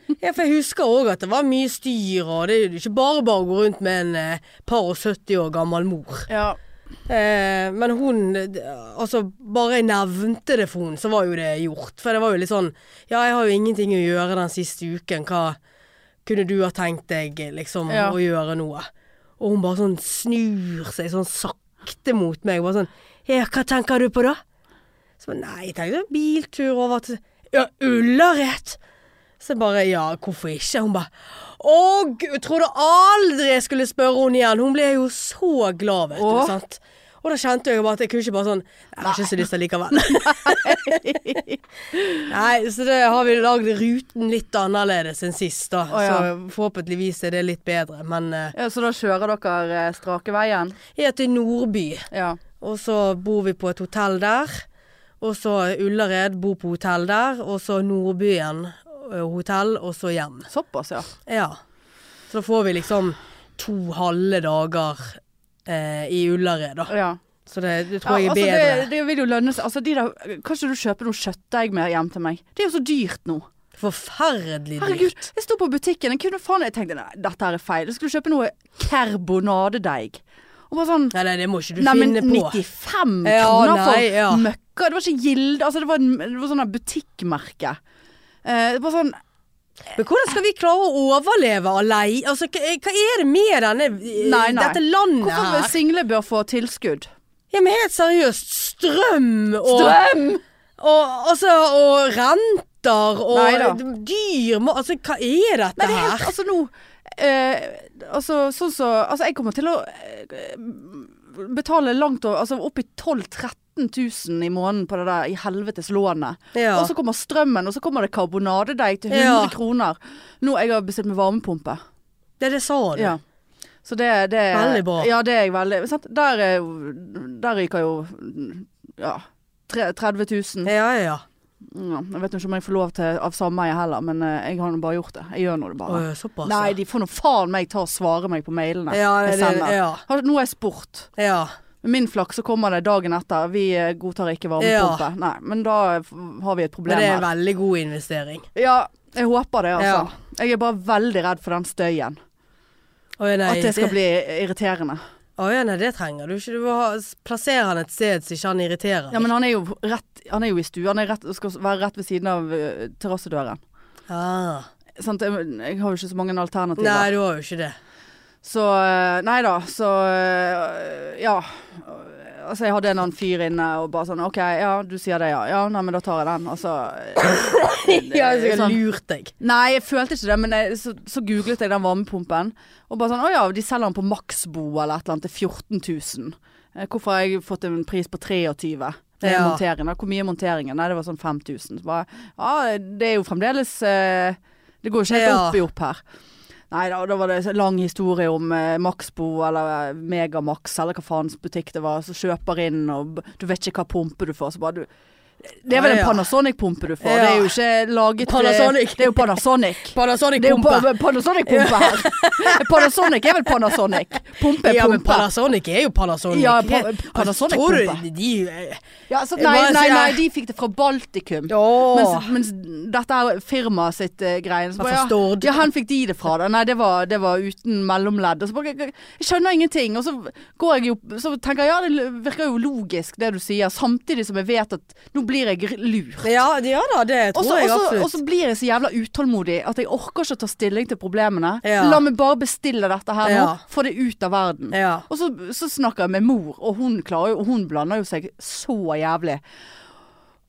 A: ok.
B: ja, for jeg husker òg at det var mye styr, og det er jo ikke bare bare å gå rundt med en eh, par og 70 år gammel mor.
A: Ja.
B: Eh, men hun d- Altså, bare jeg nevnte det for hun, så var jo det gjort. For det var jo litt sånn Ja, jeg har jo ingenting å gjøre den siste uken. Hva kunne du ha tenkt deg, liksom,
A: Ja.
B: å gjøre noe? Og hun bare sånn snur seg sånn sakte mot meg. Bare sånn Ja, hva tenker du på da? Så bare Nei, jeg tenkte biltur over til Ja, Ullared! Så jeg bare Ja, hvorfor ikke? Hun bare Å, gud, trodde aldri jeg skulle spørre henne igjen. Hun ble jo så glad, vet
A: Åh.
B: du. sant? Og da kjente jeg jo bare at jeg kunne ikke bare sånn Jeg har ikke så lyst allikevel. Nei, så det har vi lagd ruten litt annerledes enn sist, da.
A: Å, ja.
B: Så forhåpentligvis er det litt bedre. Men eh,
A: ja, så da kjører dere eh, strake veien?
B: jeg er til Nordby,
A: Ja.
B: og så bor vi på et hotell der. Og så Ullared bor på hotell der, og så Nordbyen eh, hotell, og så hjem.
A: Såpass, ja.
B: Ja. Så da får vi liksom to halve dager eh, i Ullared, da.
A: ja.
B: Så det, det tror
A: Ja,
B: jeg er
A: altså,
B: bedre.
A: Det, det vil jo lønne seg. Altså, de der, kanskje du kjøper noe kjøttdeig med hjem til meg? Det er jo så dyrt nå.
B: Forferdelig dyrt.
A: Herregud. Jeg sto på butikken, jeg kunne faen Jeg tenkte nei, dette her er feil. Jeg skulle kjøpe noe karbonadedeig. Og bare sånn
B: Nei, nei, det må ikke du
A: Nei, men
B: finne på.
A: 95
B: Ja,
A: kroner for
B: nei, ja.
A: møkka. Det var ikke Gilde. Altså, det var, det var sånn der butikkmerke. Eh, det var sånn
B: Men hvordan skal vi klare å overleve alene? Altså, hva, hva er det med denne
A: Nei, nei.
B: dette landet
A: Hvorfor
B: her?
A: single bør få tilskudd?
B: Ja, men helt seriøst. Strøm og,
A: Strøm!
B: og, altså, og renter og
A: Neida.
B: dyr må- Altså, hva er
A: Nei,
B: dette
A: det er helt
B: her?
A: Altså, nå eh, Altså, sånn så Altså, jeg kommer til å eh, betale langt over Altså opp i 12 000-13 000 i måneden på det der i helvetes lånet.
B: Ja.
A: Og så kommer strømmen, og så kommer det karbonadedeig til 100
B: Ja.
A: kroner. Nå jeg har bestilt meg varmepumpe.
B: Det sånn. er det sa du.
A: Ja. Så det, det
B: Veldig bra.
A: Ja, det er jeg veldig sant? Der, er jo- der ryker jo ja, tre- 30 000.
B: ja, ja. ja.
A: Ja, jeg vet ikke om jeg får lov til av sameie heller, men eh, jeg har nå bare gjort det. Jeg gjør nå det bare.
B: Å, ja, såpass.
A: Nei, de får nå faen meg ta og svare meg på mailene
B: Ja,
A: jeg
B: det-
A: sender.
B: ja.
A: Har- Nå har jeg spurt.
B: ja. ja.
A: Med min flaks så kommer det dagen etter. Vi eh, godtar ikke varmepumpe. Nei, men da f- har vi et problem
B: Men det er en
A: her.
B: veldig god investering.
A: Ja, jeg håper det,
B: Ja.
A: altså. Jeg er bare veldig redd for den støyen.
B: Å, ja, nei,
A: At det skal bli irriterende.
B: Å, ja, nei, det trenger du ikke. Du må ha, plassere han et sted så ikke han irriterer.
A: Ja, men han er jo, rett, han er jo i stuen. Han er rett, skal være rett ved siden av eh, terrassedøren.
B: ah.
A: Sant? Jeg, jeg har jo ikke så mange alternativer.
B: Nei, du har jo ikke det.
A: Så eh, Nei da, så eh, Ja. Altså, jeg hadde en annen fyr inne og bare sånn OK, ja, du sier det, ja. Ja, nei, men da tar jeg den. Altså
B: Ja, jeg har
A: sånn.
B: lurt deg.
A: Nei, jeg følte ikke det, men jeg, så, så googlet jeg den varmepumpen. Og bare sånn Å ja, de selger den på Maxbo eller et eller annet til 14 000. Eh, Hvorfor har jeg fått en pris på 23 det er
B: Ja.
A: monteringen. Hvor mye er monteringen? Nei, det var sånn 5000. Så bare, ja, det er jo fremdeles eh, Det går jo ikke helt
B: Ja.
A: opp i opp her. Nei da, og da var det en lang historie om eh, Maxbo eller Megamax eller hva faens butikk det var, som kjøper inn og b- du vet ikke hva pumpe du får. Så bare du Det er vel
B: Ja,
A: en
B: ja.
A: Panasonic-pumpe du får.
B: Ja.
A: Det er jo ikke laget til-
B: Panasonic.
A: Det er jo Panasonic. Det er jo
B: Panasonic-pumpe.
A: pa- Panasonic-pumpe her. Panasonic er vel Panasonic. Pumpe er
B: Ja, men
A: pumpe.
B: Panasonic er jo Panasonic.
A: Ja, pa-
B: Altså,
A: Panasonic-pumpe.
B: Tror du de eh,
A: Ja, så,
B: Hva
A: nei,
B: sier
A: nei, nei,
B: jeg?
A: de fikk det fra Baltikum.
B: Åh.
A: Mens, mens dette er firmaet sitt uh, greie. Så
B: Hva
A: bare, ja,
B: for Stord?
A: Ja, hen fikk de det fra da. Nei, det var, det var uten mellomledd. Og så bare, jeg, jeg skjønner ingenting. Og så går jeg jo Så tenker jeg ja, det virker jo logisk det du sier. Samtidig som jeg vet at nå blir jeg gr- lur.
B: Ja, ja da, det tror
A: Og så-
B: jeg
A: og så-
B: absolutt.
A: og så blir jeg så jævla utålmodig at jeg orker ikke å ta stilling til problemene.
B: Ja.
A: La meg bare bestille dette her nå.
B: Ja.
A: Få det ut av verden.
B: ja.
A: Og så, så snakker jeg med mor, og hun, klarer, jo- og hun blander jo seg så jævlig.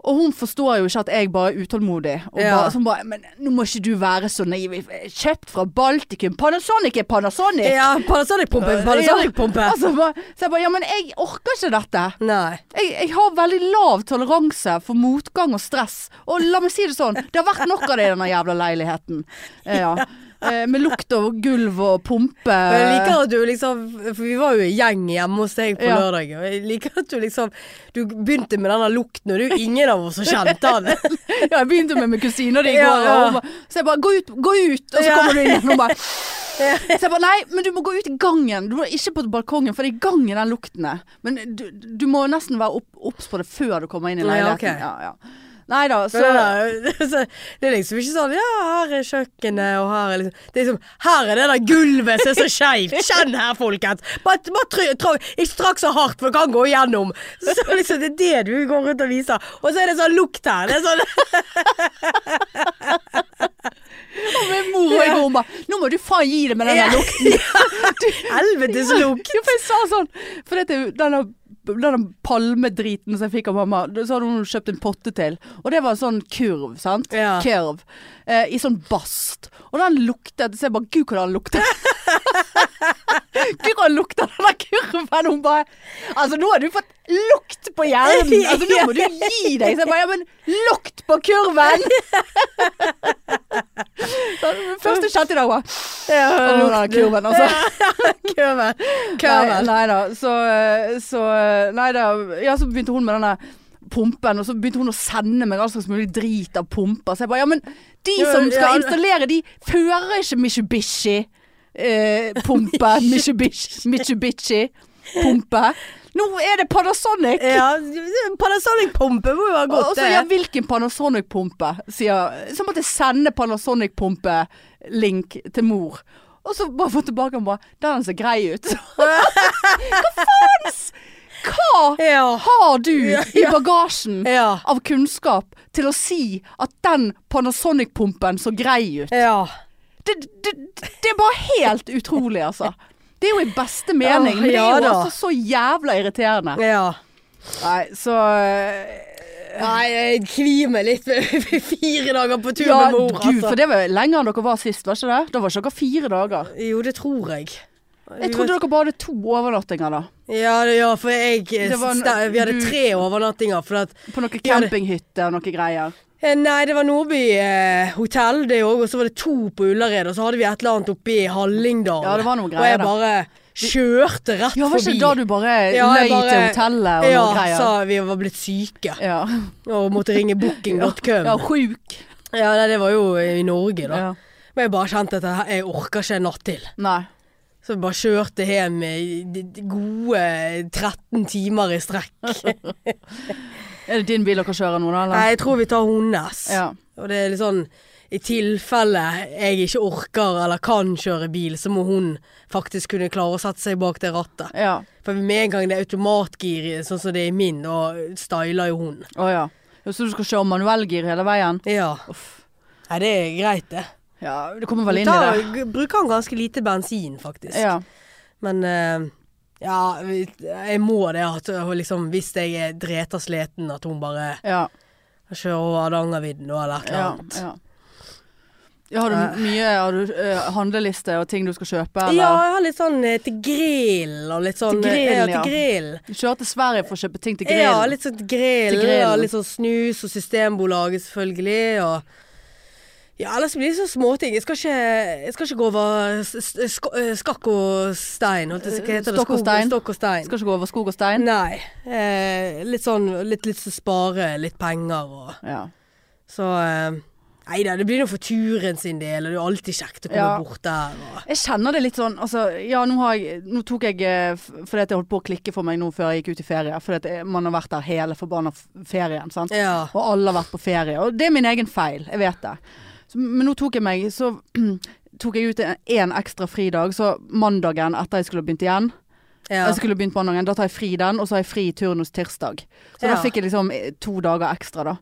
A: Og hun forstår jo ikke at jeg bare er utålmodig. Og
B: Ja.
A: bare, så hun bare 'Men nå må ikke du være så naiv. Kjøpt fra Baltikum. Panasonic er Panasonic!'
B: ja, Panasonic-pumpe. Panasonic-pumpe.
A: Ja, altså, bare- så jeg bare 'Ja, men jeg orker ikke dette'.
B: Nei.
A: Jeg, jeg har veldig lav toleranse for motgang og stress. Og la meg si det sånn, det har vært nok av det i denne jævla leiligheten. Eh, Ja. Eh, Med lukt og gulv og pumpe.
B: Men jeg liker at du liksom For vi var jo i gjeng hjemme hos deg på
A: Ja.
B: lørdag. Og jeg liker at du liksom Du begynte med denne lukten, og det er jo ingen av oss som kjente den.
A: Ja, jeg begynte med med kusina di i går.
B: Ja, ja.
A: og hun ba- Så jeg bare 'gå ut', gå ut og så
B: Ja.
A: kommer du inn igjen. Og bare Så jeg bare 'nei, men du må gå ut i gangen'. Du må ikke på balkongen, for det er i gangen den lukten er. Men du, du må jo nesten være opp- obs på det før du kommer inn i
B: Ja,
A: leiligheten.
B: ok.
A: Ja, ja. Nei da,
B: Så,
A: så
B: det er- så det er liksom ikke sånn Ja, her er kjøkkenet, og her er liksom Det er liksom Her er det der gulvet som er så skeivt. Kjenn her, folkens. Bare, bare trø, trø, ikke trakk så hardt, for det kan gå igjennom. Så liksom, det er det du går rundt og viser. Og så er det sånn lukt her. Det er sånn
A: min mor og jeg og hun bare 'nå må du faen gi det med den der lukten'.
B: Helvetes lukt.
A: Ja, for jeg sa sånn For dette, er jo denne, denne palmedriten som jeg fikk av mamma Så hadde hun kjøpt en potte til Og det var en sånn kurv, sant?
B: Ja.
A: Kurv eh, I sånn bast Og den luktet Så jeg bare, gud hvordan den lukter Gud hvordan den lukter den der kurven Hun bare Altså nå har du fått lukt på hjernen Altså nå må du gi deg Så jeg bare, ja men lukt på kurven Så Først jeg kjente i dag bare Åh, den der kurven altså
B: Kurven.
A: Nei,
B: Kurven.
A: nei da, så, så Nei da, ja, så begynte hun med denne pumpen, og så begynte hun å sende meg all slags mulig drit av pumper. Så jeg bare Ja, men de
B: Ja,
A: som skal
B: ja.
A: installere, de fører ikke Mitsubishi. Eh, pumpe. Mitsubishi. Mitsubishi. Pumpe. Nå er det Panasonic!
B: Ja, Panasonic-pumpe må jo ha
A: Og
B: gått,
A: så Altså, ja,
B: det.
A: hvilken Panasonic-pumpe, sier Så måtte jeg sende Panasonic-pumpe-link til mor. Og så bare få tilbake og bare Den ser grei ut. Hva faens? Hva
B: eh. Ja.
A: har du
B: Ja,
A: i bagasjen
B: Ja.
A: av kunnskap til å si at den Panasonic-pumpen så grei ut?
B: ja.
A: Det, det, det er bare helt utrolig, altså. Det er jo i beste mening,
B: Åh,
A: men det
B: ja
A: er jo
B: da.
A: altså så jævla irriterende.
B: ja.
A: Nei, så
B: eh, Nei, jeg kvier meg litt med fire dager på tur
A: Ja,
B: med mor,
A: gud,
B: altså.
A: for det var lenger enn dere var sist, var ikke det? Da var ikke dere fire dager.
B: Jo, det tror jeg.
A: Jeg trodde dere bare hadde to overnattinger da.
B: Ja, det- ja for jeg eh,
A: Det var en-
B: sta- Vi hadde
A: du-
B: tre overnattinger. For at,
A: På noen
B: Ja, det-
A: campinghytter og noen greier.
B: eh, nei, det var Nordby eh, hotell, det òg. Og så var det to på Ullared. Og så hadde vi et eller annet oppe i Hallingdal.
A: Ja, det var noe
B: og
A: greier
B: jeg
A: da.
B: bare kjørte rett
A: Ja, var ikke
B: forbi.
A: det da du bare
B: Ja, jeg
A: løy
B: bare-
A: til hotellet og
B: ja,
A: noen greier?
B: sa vi var blitt syke.
A: Ja,
B: Og måtte ringe booking.com.
A: ja sjuk.
B: Ja, nei, det var jo i Norge, da.
A: Ja.
B: Men jeg bare kjente at det her- jeg orker ikke en natt til.
A: Nei.
B: Så jeg bare kjørte hjem i de- de gode 13 timer i strekk.
A: Er det din bil dere kjører nå da, eller?
B: Nei, jeg tror vi tar hennes.
A: Ja.
B: Og det er litt sånn i tilfelle jeg ikke orker eller kan kjøre bil, så må hun faktisk kunne klare å sette seg bak det rattet.
A: Ja.
B: For med en gang det er automatgir, sånn som det er i min, da styler jo hun.
A: Å ja. Ja, Så du skal kjøre manuellgir hele veien?
B: Ja.
A: Uff.
B: Nei, det er greit, det.
A: Ja, du kommer
B: Hun
A: vel inn i det.
B: tar- g- bruker han ganske lite bensin, faktisk.
A: Ja.
B: Men eh, ja, vi- jeg må det. At, hun liksom, hvis jeg er dreta sliten, at hun bare
A: Ja.
B: kjører over Hardangervidda eller et eller
A: Ja.
B: annet.
A: ja. Ja, har du mye har du, eh, handleliste og ting du skal kjøpe?
B: Ja,
A: Eller?
B: jeg har litt sånn eh, til grill og litt sånn
A: Til grill,
B: eh,
A: ja.
B: til grill.
A: Du kjører til Sverige for å kjøpe ting til
B: Ja,
A: grillen?
B: litt sånn grill,
A: Til grillen.
B: og litt sånn snus og Systembolaget selvfølgelig, og Ja, ellers blir det så småting. Jeg skal ikke, jeg skal ikke gå over s- s- sk eh, skakk og stein. Holdt jeg, på å si. hva heter det?
A: Stokk og stein.
B: Stokk og stein.
A: Skal ikke gå over skog og stein.
B: Nei. Eh, litt sånn litt, litt så spare litt penger og
A: Ja.
B: Så eh, Nei da, det blir nå for turen sin del, og det er jo alltid kjekt å komme
A: Ja.
B: bort der. Og,
A: Jeg kjenner det litt sånn altså, Ja, nå, har jeg, nå tok jeg eh, f- Fordi at jeg holdt på å klikke for meg nå før jeg gikk ut i ferie. Fordi at jeg- man har vært der hele forbanna f- ferien. Sant?
B: ja.
A: Og alle har vært på ferie. Og det er min egen feil. Jeg vet det. Så, men nå tok jeg meg Så tok jeg ut én ekstra fridag. Så mandagen etter jeg skulle begynt igjen
B: ja.
A: Jeg skulle begynt mandagen, Da tar jeg fri den, og så har jeg fri turnus tirsdag. Så da
B: Ja.
A: fikk jeg liksom eh, to dager ekstra, da.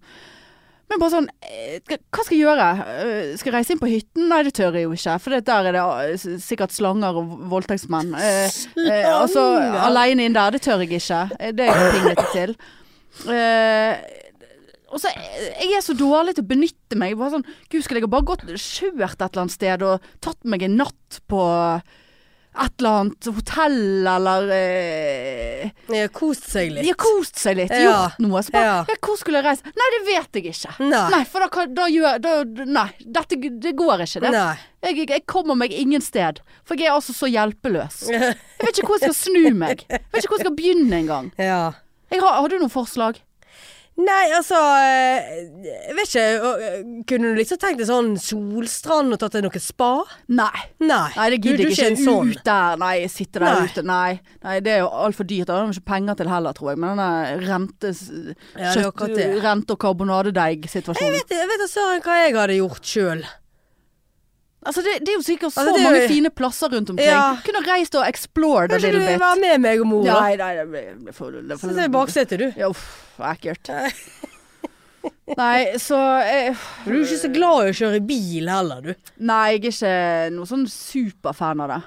A: Men bare sånn eh, Hva skal jeg gjøre? Eh, Skal jeg reise inn på hytten? Nei, det tør jeg jo ikke. For det der er det ah, s- sikkert slanger og voldtektsmenn. Eh, eh, altså,
B: Slanger?
A: aleine inn der, det tør jeg ikke. Eh, Det er jeg pinglete til. Eh, og så eh, Jeg er så dårlig til å benytte meg. Bare sånn Gud, skulle jeg ha bare gått kjørt et eller annet sted og tatt meg en natt på et eller annet hotell eller eh,
B: De har kost seg
A: De
B: litt.
A: har kost seg litt,
B: Ja.
A: gjort noe. Så bare
B: Ja.
A: ja. Hvor skulle jeg reise? Nei, det vet jeg ikke.
B: Nei.
A: Nei, for da, kan- da gjør da, Nei, dette det går ikke. Det.
B: Nei.
A: Jeg, jeg- jeg kommer meg ingen sted. For jeg er altså så hjelpeløs. Jeg vet ikke hvor jeg skal snu meg. Jeg vet ikke hvor jeg skal begynne engang.
B: ja.
A: Jeg har, har du noen forslag?
B: Nei, altså eh, Jeg vet ikke. og, eh, Kunne du liksom tenkt deg sånn Solstrand og tatt deg noe spa?
A: Nei.
B: Nei.
A: Nei, det
B: Du-
A: gidder
B: du
A: jeg
B: er
A: ikke.
B: en sånn.
A: Ut der, nei, sitte der
B: Nei.
A: ute. Nei. nei, det er jo altfor dyrt. Det har de ikke penger til heller, tror jeg. Men denne rentes,
B: Ja, det er
A: kjøtt,
B: akkurat det.
A: rente- og karbonadedeig-situasjonen.
B: Vet du- Jeg vet da søren hva jeg hadde gjort sjøl.
A: Altså, det, det er jo sikkert så
B: Altså, det er jo-
A: mange fine plasser rundt omkring.
B: Ja.
A: Kunne reist og explored a
B: Kanskje
A: little
B: du vil
A: bit.
B: være med meg og mor? da?
A: Nei, nei, det blir- det får det
B: Sett deg i
A: får-
B: baksetet, du.
A: Ja, uff, ekkelt. Nei, så eh,
B: For du er jo ikke så glad i å kjøre bil heller, du.
A: Nei, jeg er ikke noen sånn superfan av det.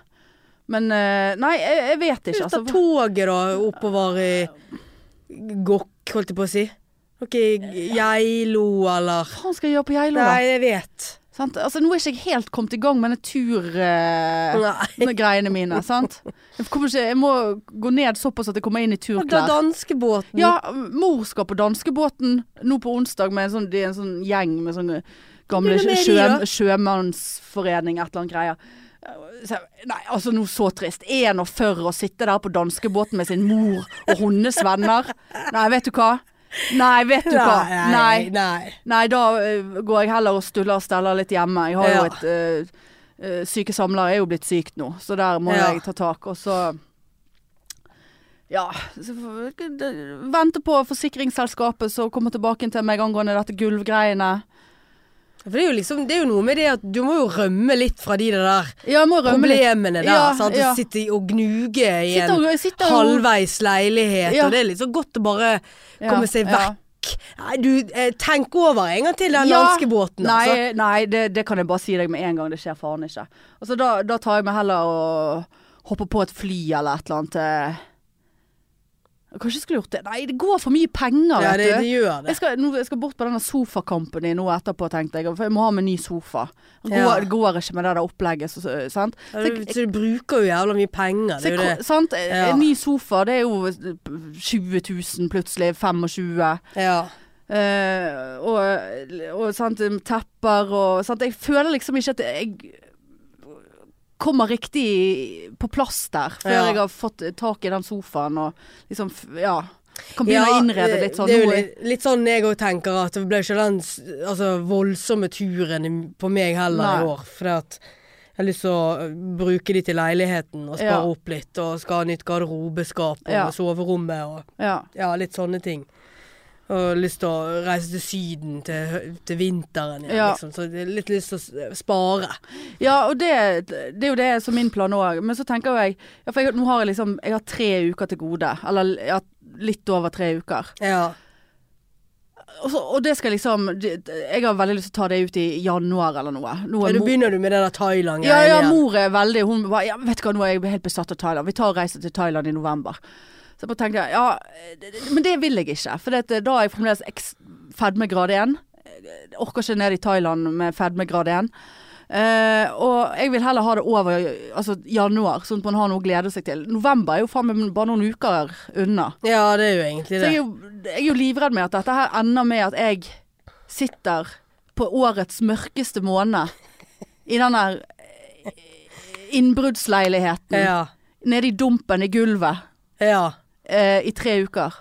A: Men eh, Nei, jeg, jeg vet ikke.
B: Ut av
A: Altså.
B: toget, da, oppover i Gokk, holdt jeg på å si. Ok, Geilo, eller
A: Hva faen skal jeg gjøre på Geilo, da?
B: Nei, jeg vet.
A: Sant? Altså, nå er ikke jeg helt kommet i gang med denne turgreiene
B: Nei.
A: mine. Sant? Jeg, kommer ikke, jeg må gå ned såpass at jeg kommer inn i
B: Og da
A: turklær.
B: danskebåten.
A: Ja, mor skal på danskebåten nå på onsdag med en sånn, det er en sånn gjeng med sånne gamle
B: Blir det med
A: sjø,
B: de, da?
A: sjømannsforening, et eller annet greier. Så, jeg- nei, altså noe så trist. 41 å sitte der på danskebåten med sin mor og hennes venner. Nei, vet du hva? Nei, vet du hva.
B: Nei,
A: Nei,
B: nei, nei.
A: Nei, da ø, går jeg heller og stuller og steller litt hjemme. Jeg har
B: Ja.
A: jo et ø, ø, Syke samlere er jo blitt sykt nå, så der må
B: Ja.
A: jeg ta tak. Og så Ja. Så, får vi- d- vente på forsikringsselskapet som kommer tilbake til meg angående dette gulvgreiene.
B: For det er, jo liksom, det er jo noe med det at du må jo rømme litt fra de der
A: Ja, jeg må rømme litt.
B: problemene der.
A: Ja,
B: sant? Du
A: ja.
B: sitter i- og gnuger i
A: Sitter
B: en
A: og, sitter og
B: halvveis leilighet,
A: Ja.
B: og det er litt så godt å bare
A: Ja,
B: komme seg
A: ja.
B: vekk. Nei, du, eh, tenk over en gang til den
A: Ja.
B: danskebåten, altså.
A: Nei, nei det, det kan jeg bare si deg med en gang. Det skjer faen ikke. Altså, da, da tar jeg meg heller og hopper på et fly eller et eller annet. eh. Jeg Kanskje jeg skulle gjort det. Nei, det går for mye penger,
B: Ja,
A: vet
B: det,
A: du.
B: det gjør det.
A: Jeg skal, nå, jeg skal bort på denne sofakampen din nå etterpå, tenkte jeg. For jeg må ha meg ny sofa. Det går,
B: Ja.
A: det går ikke med det der opplegget. Så, så- sant?
B: Ja,
A: Så jeg-
B: du, så du bruker jo jævla mye penger.
A: så
B: Det er
A: jeg,
B: jo det.
A: ko- sant?
B: Ja.
A: En ny sofa, det er jo 20 000 plutselig. 25 000.
B: Ja.
A: Eh, og, og sant, um, tepper og sant? Jeg føler liksom ikke at jeg kommer riktig på plass der før
B: Ja.
A: jeg har fått tak i den sofaen og liksom f- Ja. Kan begynne å innrede litt sånn.
B: Det er jo
A: nå-
B: litt, litt sånn jeg òg tenker, at det ble ikke den s- altså, voldsomme turen i- på meg heller
A: Nei.
B: i år. Fordi at jeg har lyst til å øh, bruke de til leiligheten og spare
A: Ja.
B: opp litt. Og skal ha nytt garderobeskap og
A: Ja.
B: soverommet og
A: Ja.
B: ja, litt sånne ting. Og lyst til å reise til Syden til, hø- til vinteren igjen,
A: Ja.
B: liksom. Så det er litt lyst til å s- øh, spare.
A: Ja, og det, det er jo det som min plan òg. Men så tenker jo jeg, ja, for jeg Nå har jeg liksom Jeg har tre uker til gode. Eller ja, litt over tre uker.
B: Ja.
A: Og, så, og det skal liksom det- Jeg har veldig lyst til å ta det ut i januar eller noe. Nå
B: Ja,
A: er
B: Nå
A: mor,
B: begynner du med den der Thailand
A: ja, ja, mor er veldig Hun bare ja, 'Vet du hva, nå er jeg helt besatt av Thailand. Vi tar og reiser til Thailand i november.' Så jeg bare tenkte ja, det- det- men det vil jeg ikke. For det, at da er jeg fremdeles eks- fedmegrad 1. Orker ikke ned i Thailand med fedmegrad 1. Eh, og jeg vil heller ha det over altså, januar, sånn at man har noe å glede seg til. November er jo faen meg bare noen uker unna.
B: Ja, det er jo egentlig
A: Så jeg
B: det.
A: er jo, jeg er jo livredd med at dette her ender med at jeg sitter på årets mørkeste måned. I den der eh, innbruddsleiligheten.
B: Ja.
A: Nede i dumpen i gulvet
B: ja.
A: eh, i tre uker.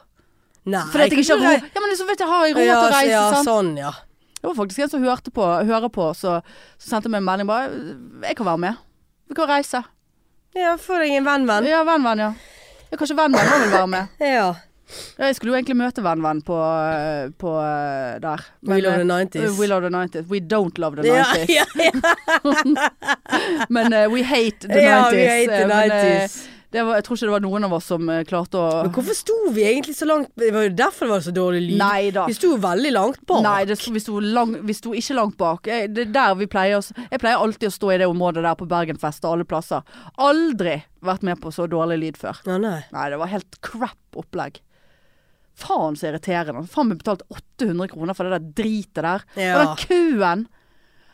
B: Nei.
A: Fordi at jeg ikke har
B: kunne
A: ro.
B: rei-
A: Ja, men så vet jeg, har jeg ro
B: ja,
A: til å reise,
B: ja,
A: sant.
B: sånn, ja.
A: Det var faktisk en som hørte på, hører på, så, så sendte meg en melding bare 'Jeg kan være med. Vi kan reise'.
B: Ja, få deg en venn-venn.
A: Ja, venn-venn, ja. ja. Kanskje venn-venn må vel være med.
B: Ja.
A: Ja, jeg skulle jo egentlig møte venn-venn på, på eh, der.
B: We love the
A: eh,
B: 90s.
A: We love the 90s. We don't love the 90s.
B: Ja, ja, ja.
A: Men eh, we hate the
B: ja,
A: 90s.
B: vi er i
A: eh,
B: the
A: men, eh,
B: 90s.
A: det var, jeg tror ikke det var noen av oss som eh, klarte å
B: Men hvorfor sto vi egentlig så langt Det var jo derfor det var så dårlig lyd.
A: Nei da.
B: Vi sto jo veldig langt bak.
A: Nei, det, sto- vi, sto lang, vi sto ikke langt bak. Jeg, det er der vi pleier oss. Jeg pleier alltid å stå i det området der på Bergenfest og alle plasser. Aldri vært med på så dårlig lyd før.
B: Ja, nei.
A: Nei, det var helt crap opplegg. Faen så irriterende. Faen meg betalt 800 kroner for det der dritet der. Og
B: Ja.
A: den køen.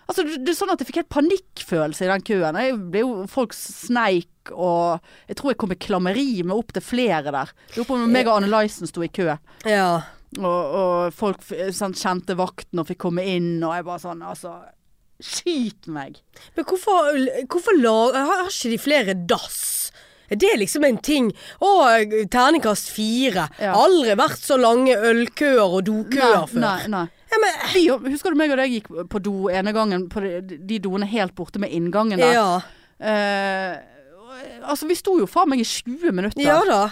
A: Altså, det, det er sånn at jeg fikk helt panikkfølelse i den køen. Jeg ble jo, folk sneik og Jeg tror jeg kom i klammeri med opp til flere der. Jeg Lurer på om meg og Anne Lysen sto i kø.
B: Ja.
A: Og, og folk f- sånn, kjente vakten og fikk komme inn, og jeg bare sånn Altså, skyt meg.
B: Men hvorfor, hvorfor lag, har, har ikke de flere dass? Er det liksom en ting? Å, terningkast fire.
A: Ja.
B: Aldri vært så lange ølkøer og dokøer før.
A: Nei, nei.
B: Ja, men,
A: Vi, husker du meg og deg gikk på do ene gangen, på de, de doene helt borte med inngangen der?
B: ja.
A: Eh, altså, vi sto jo faen meg i 20 minutter.
B: ja da.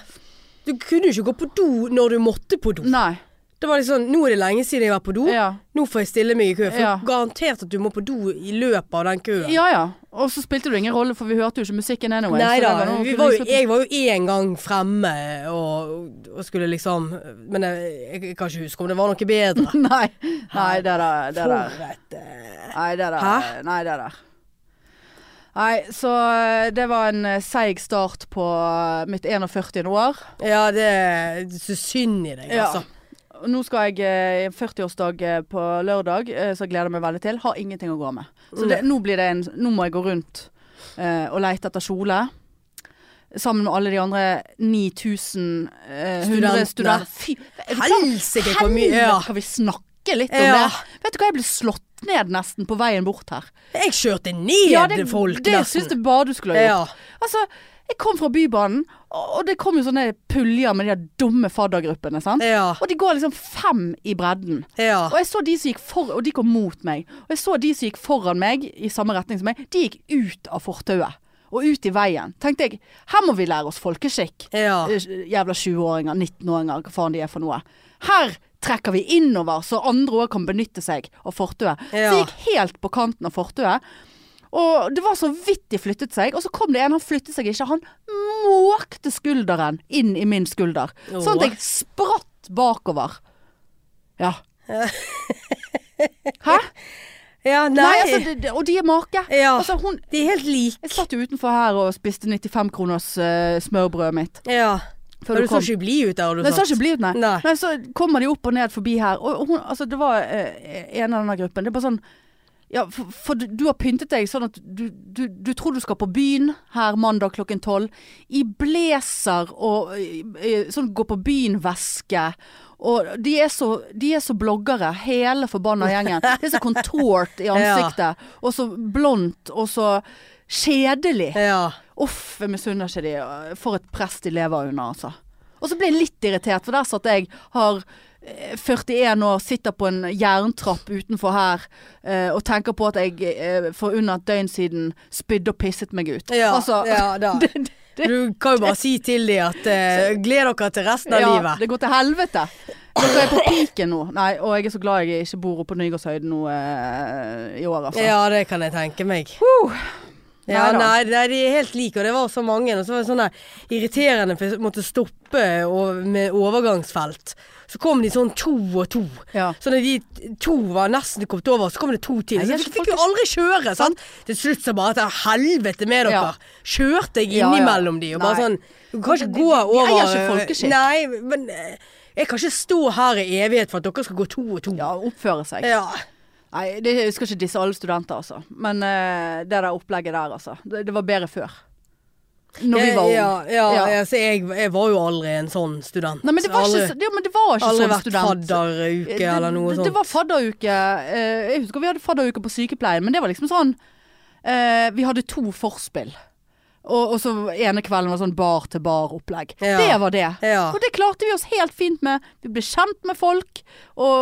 B: Du kunne jo ikke gå på do når du måtte på do.
A: Nei.
B: Det var liksom, Nå er det lenge siden jeg var på do.
A: Ja.
B: Nå får jeg stille meg i kø. For
A: Ja.
B: garantert at du må på do i løpet av den køen.
A: ja ja. Og så spilte det ingen rolle, for vi hørte jo ikke musikken anyway.
B: Nei
A: så det var
B: da,
A: noe-
B: vi
A: kunne
B: var jo,
A: liksom-
B: jeg var jo én gang fremme og, og skulle liksom Men jeg, jeg kan ikke huske om det var noe bedre.
A: Nei. Nei, det der. Det der.
B: For et, eh,
A: Nei, det der.
B: Hæ?
A: Nei, det der. Nei, så eh, det var en eh, seig start på eh, mitt 41. år.
B: Ja, det er så synd i deg,
A: Ja.
B: altså.
A: Og Nå skal jeg eh, i 40-årsdag eh, på lørdag, eh, så jeg gleder meg veldig til. Har ingenting å gå med.
B: Mm.
A: Så det, nå, blir det en, nå må jeg gå rundt eh, og leite etter kjole. Sammen med alle de andre 9000 eh, 100
B: Studentene.
A: studenter. Fy, er du klar?
B: Helsike hvor mye ja.
A: Helvete, Kan vi snakke litt om
B: Ja.
A: det? Vet du hva, jeg ble slått ned nesten på veien bort her.
B: Jeg kjørte ned
A: Ja, det,
B: folk,
A: det
B: nesten.
A: syns jeg bare du skulle ha gjort.
B: ja.
A: Altså, jeg kom fra Bybanen, og og det kom jo sånne puljer med de der dumme faddergruppene. sant?
B: ja.
A: Og de går liksom fem i bredden.
B: Ja.
A: Og jeg så de som gikk for, og de kom mot meg. Og jeg så de som gikk foran meg i samme retning som meg, de gikk ut av fortauet. Og ut i veien. Tenkte jeg, her må vi lære oss folkeskikk.
B: Ja.
A: Eh, Jævla 20-åringer, 19-åringer, hva faen de er for noe. Her trekker vi innover, så andre òg kan benytte seg av fortauet. Så
B: Ja.
A: jeg gikk helt på kanten av fortauet. Og det var så vidt de flyttet seg, og så kom det en, han flyttet seg ikke. Han måkte skulderen inn i min skulder. Sånn at jeg spratt bakover. Ja. Hæ?
B: ja nei.
A: Nei, altså, det, det, og de er make.
B: Ja.
A: Altså, hun
B: De er helt like.
A: Jeg satt jo utenfor her og spiste 95 kroners eh, smørbrødet mitt.
B: Ja.
A: Før
B: Men
A: du
B: du så
A: kom.
B: ikke blid ut der, har du
A: Nei, så har
B: sagt.
A: ikke blitt, nei.
B: Nei.
A: nei. Så kommer de opp og ned forbi her, og hun, altså det var eh, en av denne gruppen. Det er bare sånn ja, for, for du, du har pyntet deg sånn at du, du, du tror du skal på byen her mandag klokken tolv. I blazer og eh, eh, sånn gå på byen-veske. Og de er, så, de er så bloggere, hele forbanna gjengen. Det er så contort i ansiktet. Og så blondt, og så kjedelig.
B: Ja.
A: Uff, jeg misunner ikke de. For et press de lever under, altså. Og så ble jeg litt irritert, for der satt jeg, har eh, 41 år, sitter på en jerntrapp utenfor her eh, og tenker på at jeg eh, for under et døgn siden spydde og pisset meg ut.
B: Ja,
A: altså,
B: ja da.
A: det, det, det,
B: Du kan jo bare si til de at eh, gled dere til resten av
A: ja,
B: livet.
A: det går til helvete. Dere er på piken nå. Nei, og jeg er så glad jeg ikke bor oppe på Nygårdshøyden nå eh, i år, altså.
B: Ja, det kan jeg tenke meg. Ja,
A: Neida.
B: nei, nei, de er helt like, og det var så mange. Og så var det sånn der irriterende, for jeg måtte stoppe og, med overgangsfelt. Så kom de sånn to og to.
A: Ja.
B: Så når de to var nesten kommet over, så kom det to til.
A: Nei,
B: Så
A: jeg
B: jeg fikk jo aldri kjøre, sant. Til slutt så bare til helvete med dere.
A: Ja.
B: Kjørte jeg
A: Ja, ja.
B: innimellom de og bare
A: Nei.
B: sånn Du kan
A: De-
B: ikke
A: de-
B: gå
A: de
B: over
A: eier ikke folkeskikk.
B: Nei, men eh, jeg kan ikke stå her i evighet for at dere skal gå to og to.
A: ja, oppføre seg.
B: ja.
A: Nei, det, jeg skal ikke disse alle studenter, altså. Men eh, det der opplegget der, altså. Det, det var bedre før. Når vi var unge.
B: Ja, ja,
A: Ja.
B: ja. så jeg, jeg var jo aldri en sånn student.
A: Nei, men det var
B: aldri,
A: ikke, så- ja, men det var ikke
B: aldri
A: sånn
B: vært
A: student.
B: fadderuke eller noe
A: det,
B: sånt.
A: Det var fadderuke. eh, Jeg husker vi hadde fadderuke på sykepleien, men det var liksom sånn eh, Vi hadde to forspill. Og, og så ene kvelden var sånn bar til bar-opplegg.
B: Ja.
A: Det var det.
B: Ja.
A: Og det klarte vi oss helt fint med. Vi ble kjent med folk. Og,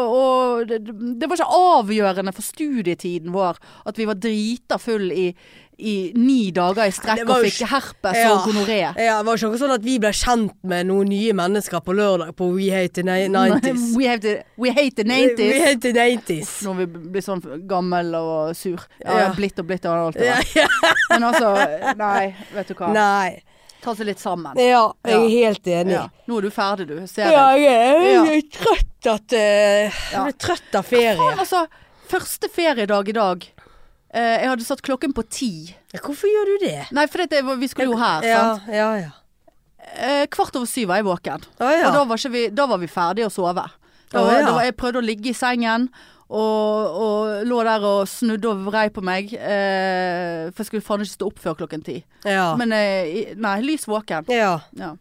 A: og det, det var ikke avgjørende for studietiden vår at vi var drita full i, i ni dager i strekk
B: Det var
A: og
B: jo
A: fikk
B: ikke-
A: herpes
B: Ja.
A: og gonoré.
B: Ja, det var ikke noe sånn at vi ble kjent med noen nye mennesker på lørdag på We Hate the Ni- 90s.
A: We hate the, we hate the
B: We
A: 90s.
B: Hate the 90s.
A: Når vi blir sånn gammel og sur. Ja,
B: Ja.
A: Blitt og blitt og alt det
B: Ja, ja.
A: der. Men altså, nei, vet du hva.
B: Nei.
A: Ta seg litt sammen.
B: Ja, jeg
A: Ja.
B: er helt enig.
A: Ja. Nå er du ferdig, du. Ser
B: Ja,
A: jeg.
B: jeg er, jeg er
A: Ja.
B: trøtt at eh,
A: Ja.
B: Jeg er trøtt av ferie.
A: Faen, altså. Første feriedag i dag. Eh, jeg hadde satt klokken på ti.
B: Ja, Hvorfor gjør du det?
A: Nei, for dette, vi skulle jo her,
B: Ja,
A: sant.
B: ja, ja.
A: Eh, kvart over syv var jeg våken.
B: Å, ja.
A: Og da var, ikke vi, da var vi ferdige å sove. Da,
B: Å, ja.
A: da var, jeg prøvde å ligge i sengen, og, og lå der og snudde og vrei på meg. Eh, for jeg skulle faen ikke stå opp før klokken ti.
B: Ja.
A: Men eh, i- nei, lys våken.
B: ja.
A: Ja.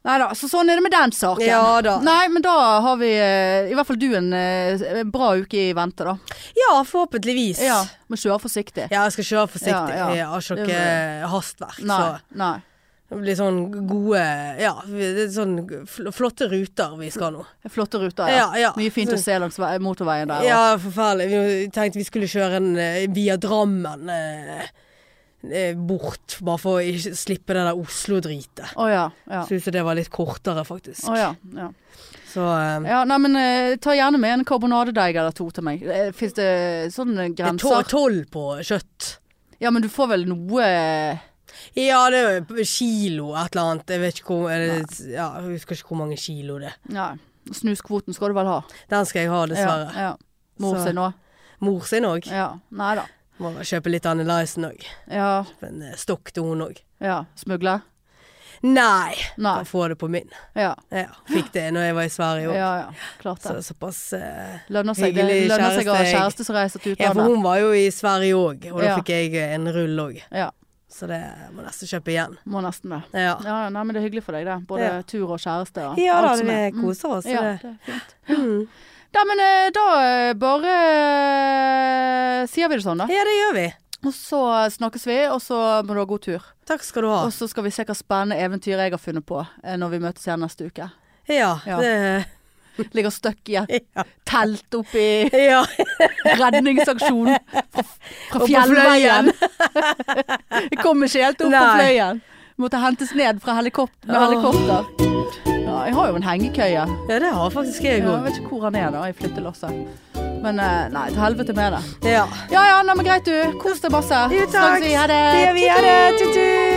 A: Nei da, så sånn er det med den saken.
B: Ja da.
A: Nei, men da har vi eh, i hvert fall du en eh, bra uke i vente, da.
B: ja, forhåpentligvis.
A: Ja, Må kjøre forsiktig.
B: Ja, jeg skal kjøre forsiktig.
A: Ja, ja.
B: Jeg har ikke
A: Det
B: noe hastverk.
A: Nei.
B: Så
A: nei.
B: det blir sånn gode Ja, det er sånn fl- flotte ruter vi skal nå.
A: Flotte ruter, ja.
B: Ja, ja.
A: Mye fint å se langs vei- motorveien der.
B: Ja, forferdelig. Vi tenkte vi skulle kjøre en eh, via Drammen eh, eh, bort, bare for å ikke slippe det der Oslo-dritet.
A: Å ja. ja.
B: Synes jeg det var litt kortere, faktisk.
A: Å ja, ja.
B: Så eh,
A: ja nei, men eh, ta gjerne med en karbonadedeig eller to til meg. Uh, Fins det sånne
B: det er to-
A: grenser?
B: tolv på kjøtt.
A: Ja, men du får vel noe eh,
B: Ja, det er jo kilo et eller annet. Jeg vet ikke hvor er det, ja, Jeg husker ikke hvor mange kilo det er.
A: Nei. Snuskvoten skal du vel ha.
B: Den skal jeg ha, dessverre.
A: Ja, ja. Mor
B: Så-
A: sin òg.
B: Mor sin òg.
A: Ja. Nei da.
B: Må vel kjøpe litt Annelisen òg.
A: Ja.
B: En eh, stokk til hun òg.
A: ja. Smugle?
B: Nei!
A: Nei.
B: Kan få det på min.
A: Ja.
B: Ja, fikk det når jeg var i Sverige
A: ja,
B: òg.
A: ja. Klart
B: Så
A: det.
B: såpass eh,
A: Lønner seg, det
B: hyggelig
A: lønner seg å ha
B: kjæreste, jeg.
A: kjæreste som reiser til
B: Ja, for
A: utlandet.
B: hun var jo i Sverige òg, og da
A: Ja.
B: fikk jeg eh, en rull òg.
A: Ja.
B: Så det må nesten kjøpe igjen.
A: Må nesten det.
B: Ja.
A: Ja, nei, men det er hyggelig for deg, det. Både
B: Ja.
A: tur og kjæreste og
B: Ja da,
A: alt som
B: vi
A: er. Mm.
B: koser oss.
A: Ja,
B: Ja.
A: det er fint.
B: Mm.
A: Da, men eh, da eh, bare eh, sier vi det sånn, da.
B: ja, det gjør vi.
A: Og så snakkes vi, og så må du ha god tur.
B: Takk skal du ha.
A: Og så skal vi se hva spennende eventyr jeg har funnet på eh, når vi møtes igjen neste uke.
B: Ja.
A: Ja.
B: Det,
A: Ligger støkk i et
B: ja.
A: telt oppi
B: ja.
A: redningsaksjon fra,
B: på
A: fra fjellveien. jeg kom ikke helt opp på
B: Nei.
A: fløyen. Måtte hentes ned fra helikop med
B: Åh.
A: helikopter. Ja, jeg har jo en hengekøye.
B: ja, det har faktisk jeg
A: Jeg
B: òg.
A: vet ikke hvor han er da, i flyttelasset. Men eh, nei, til helvete med det.
B: Ja.
A: Ja ja, nei, men greit du. Kos deg masse.
B: Jo, takk.
A: Snakkes vi. Ha det.
B: Det gjør vi. Ha det. Tut-tut.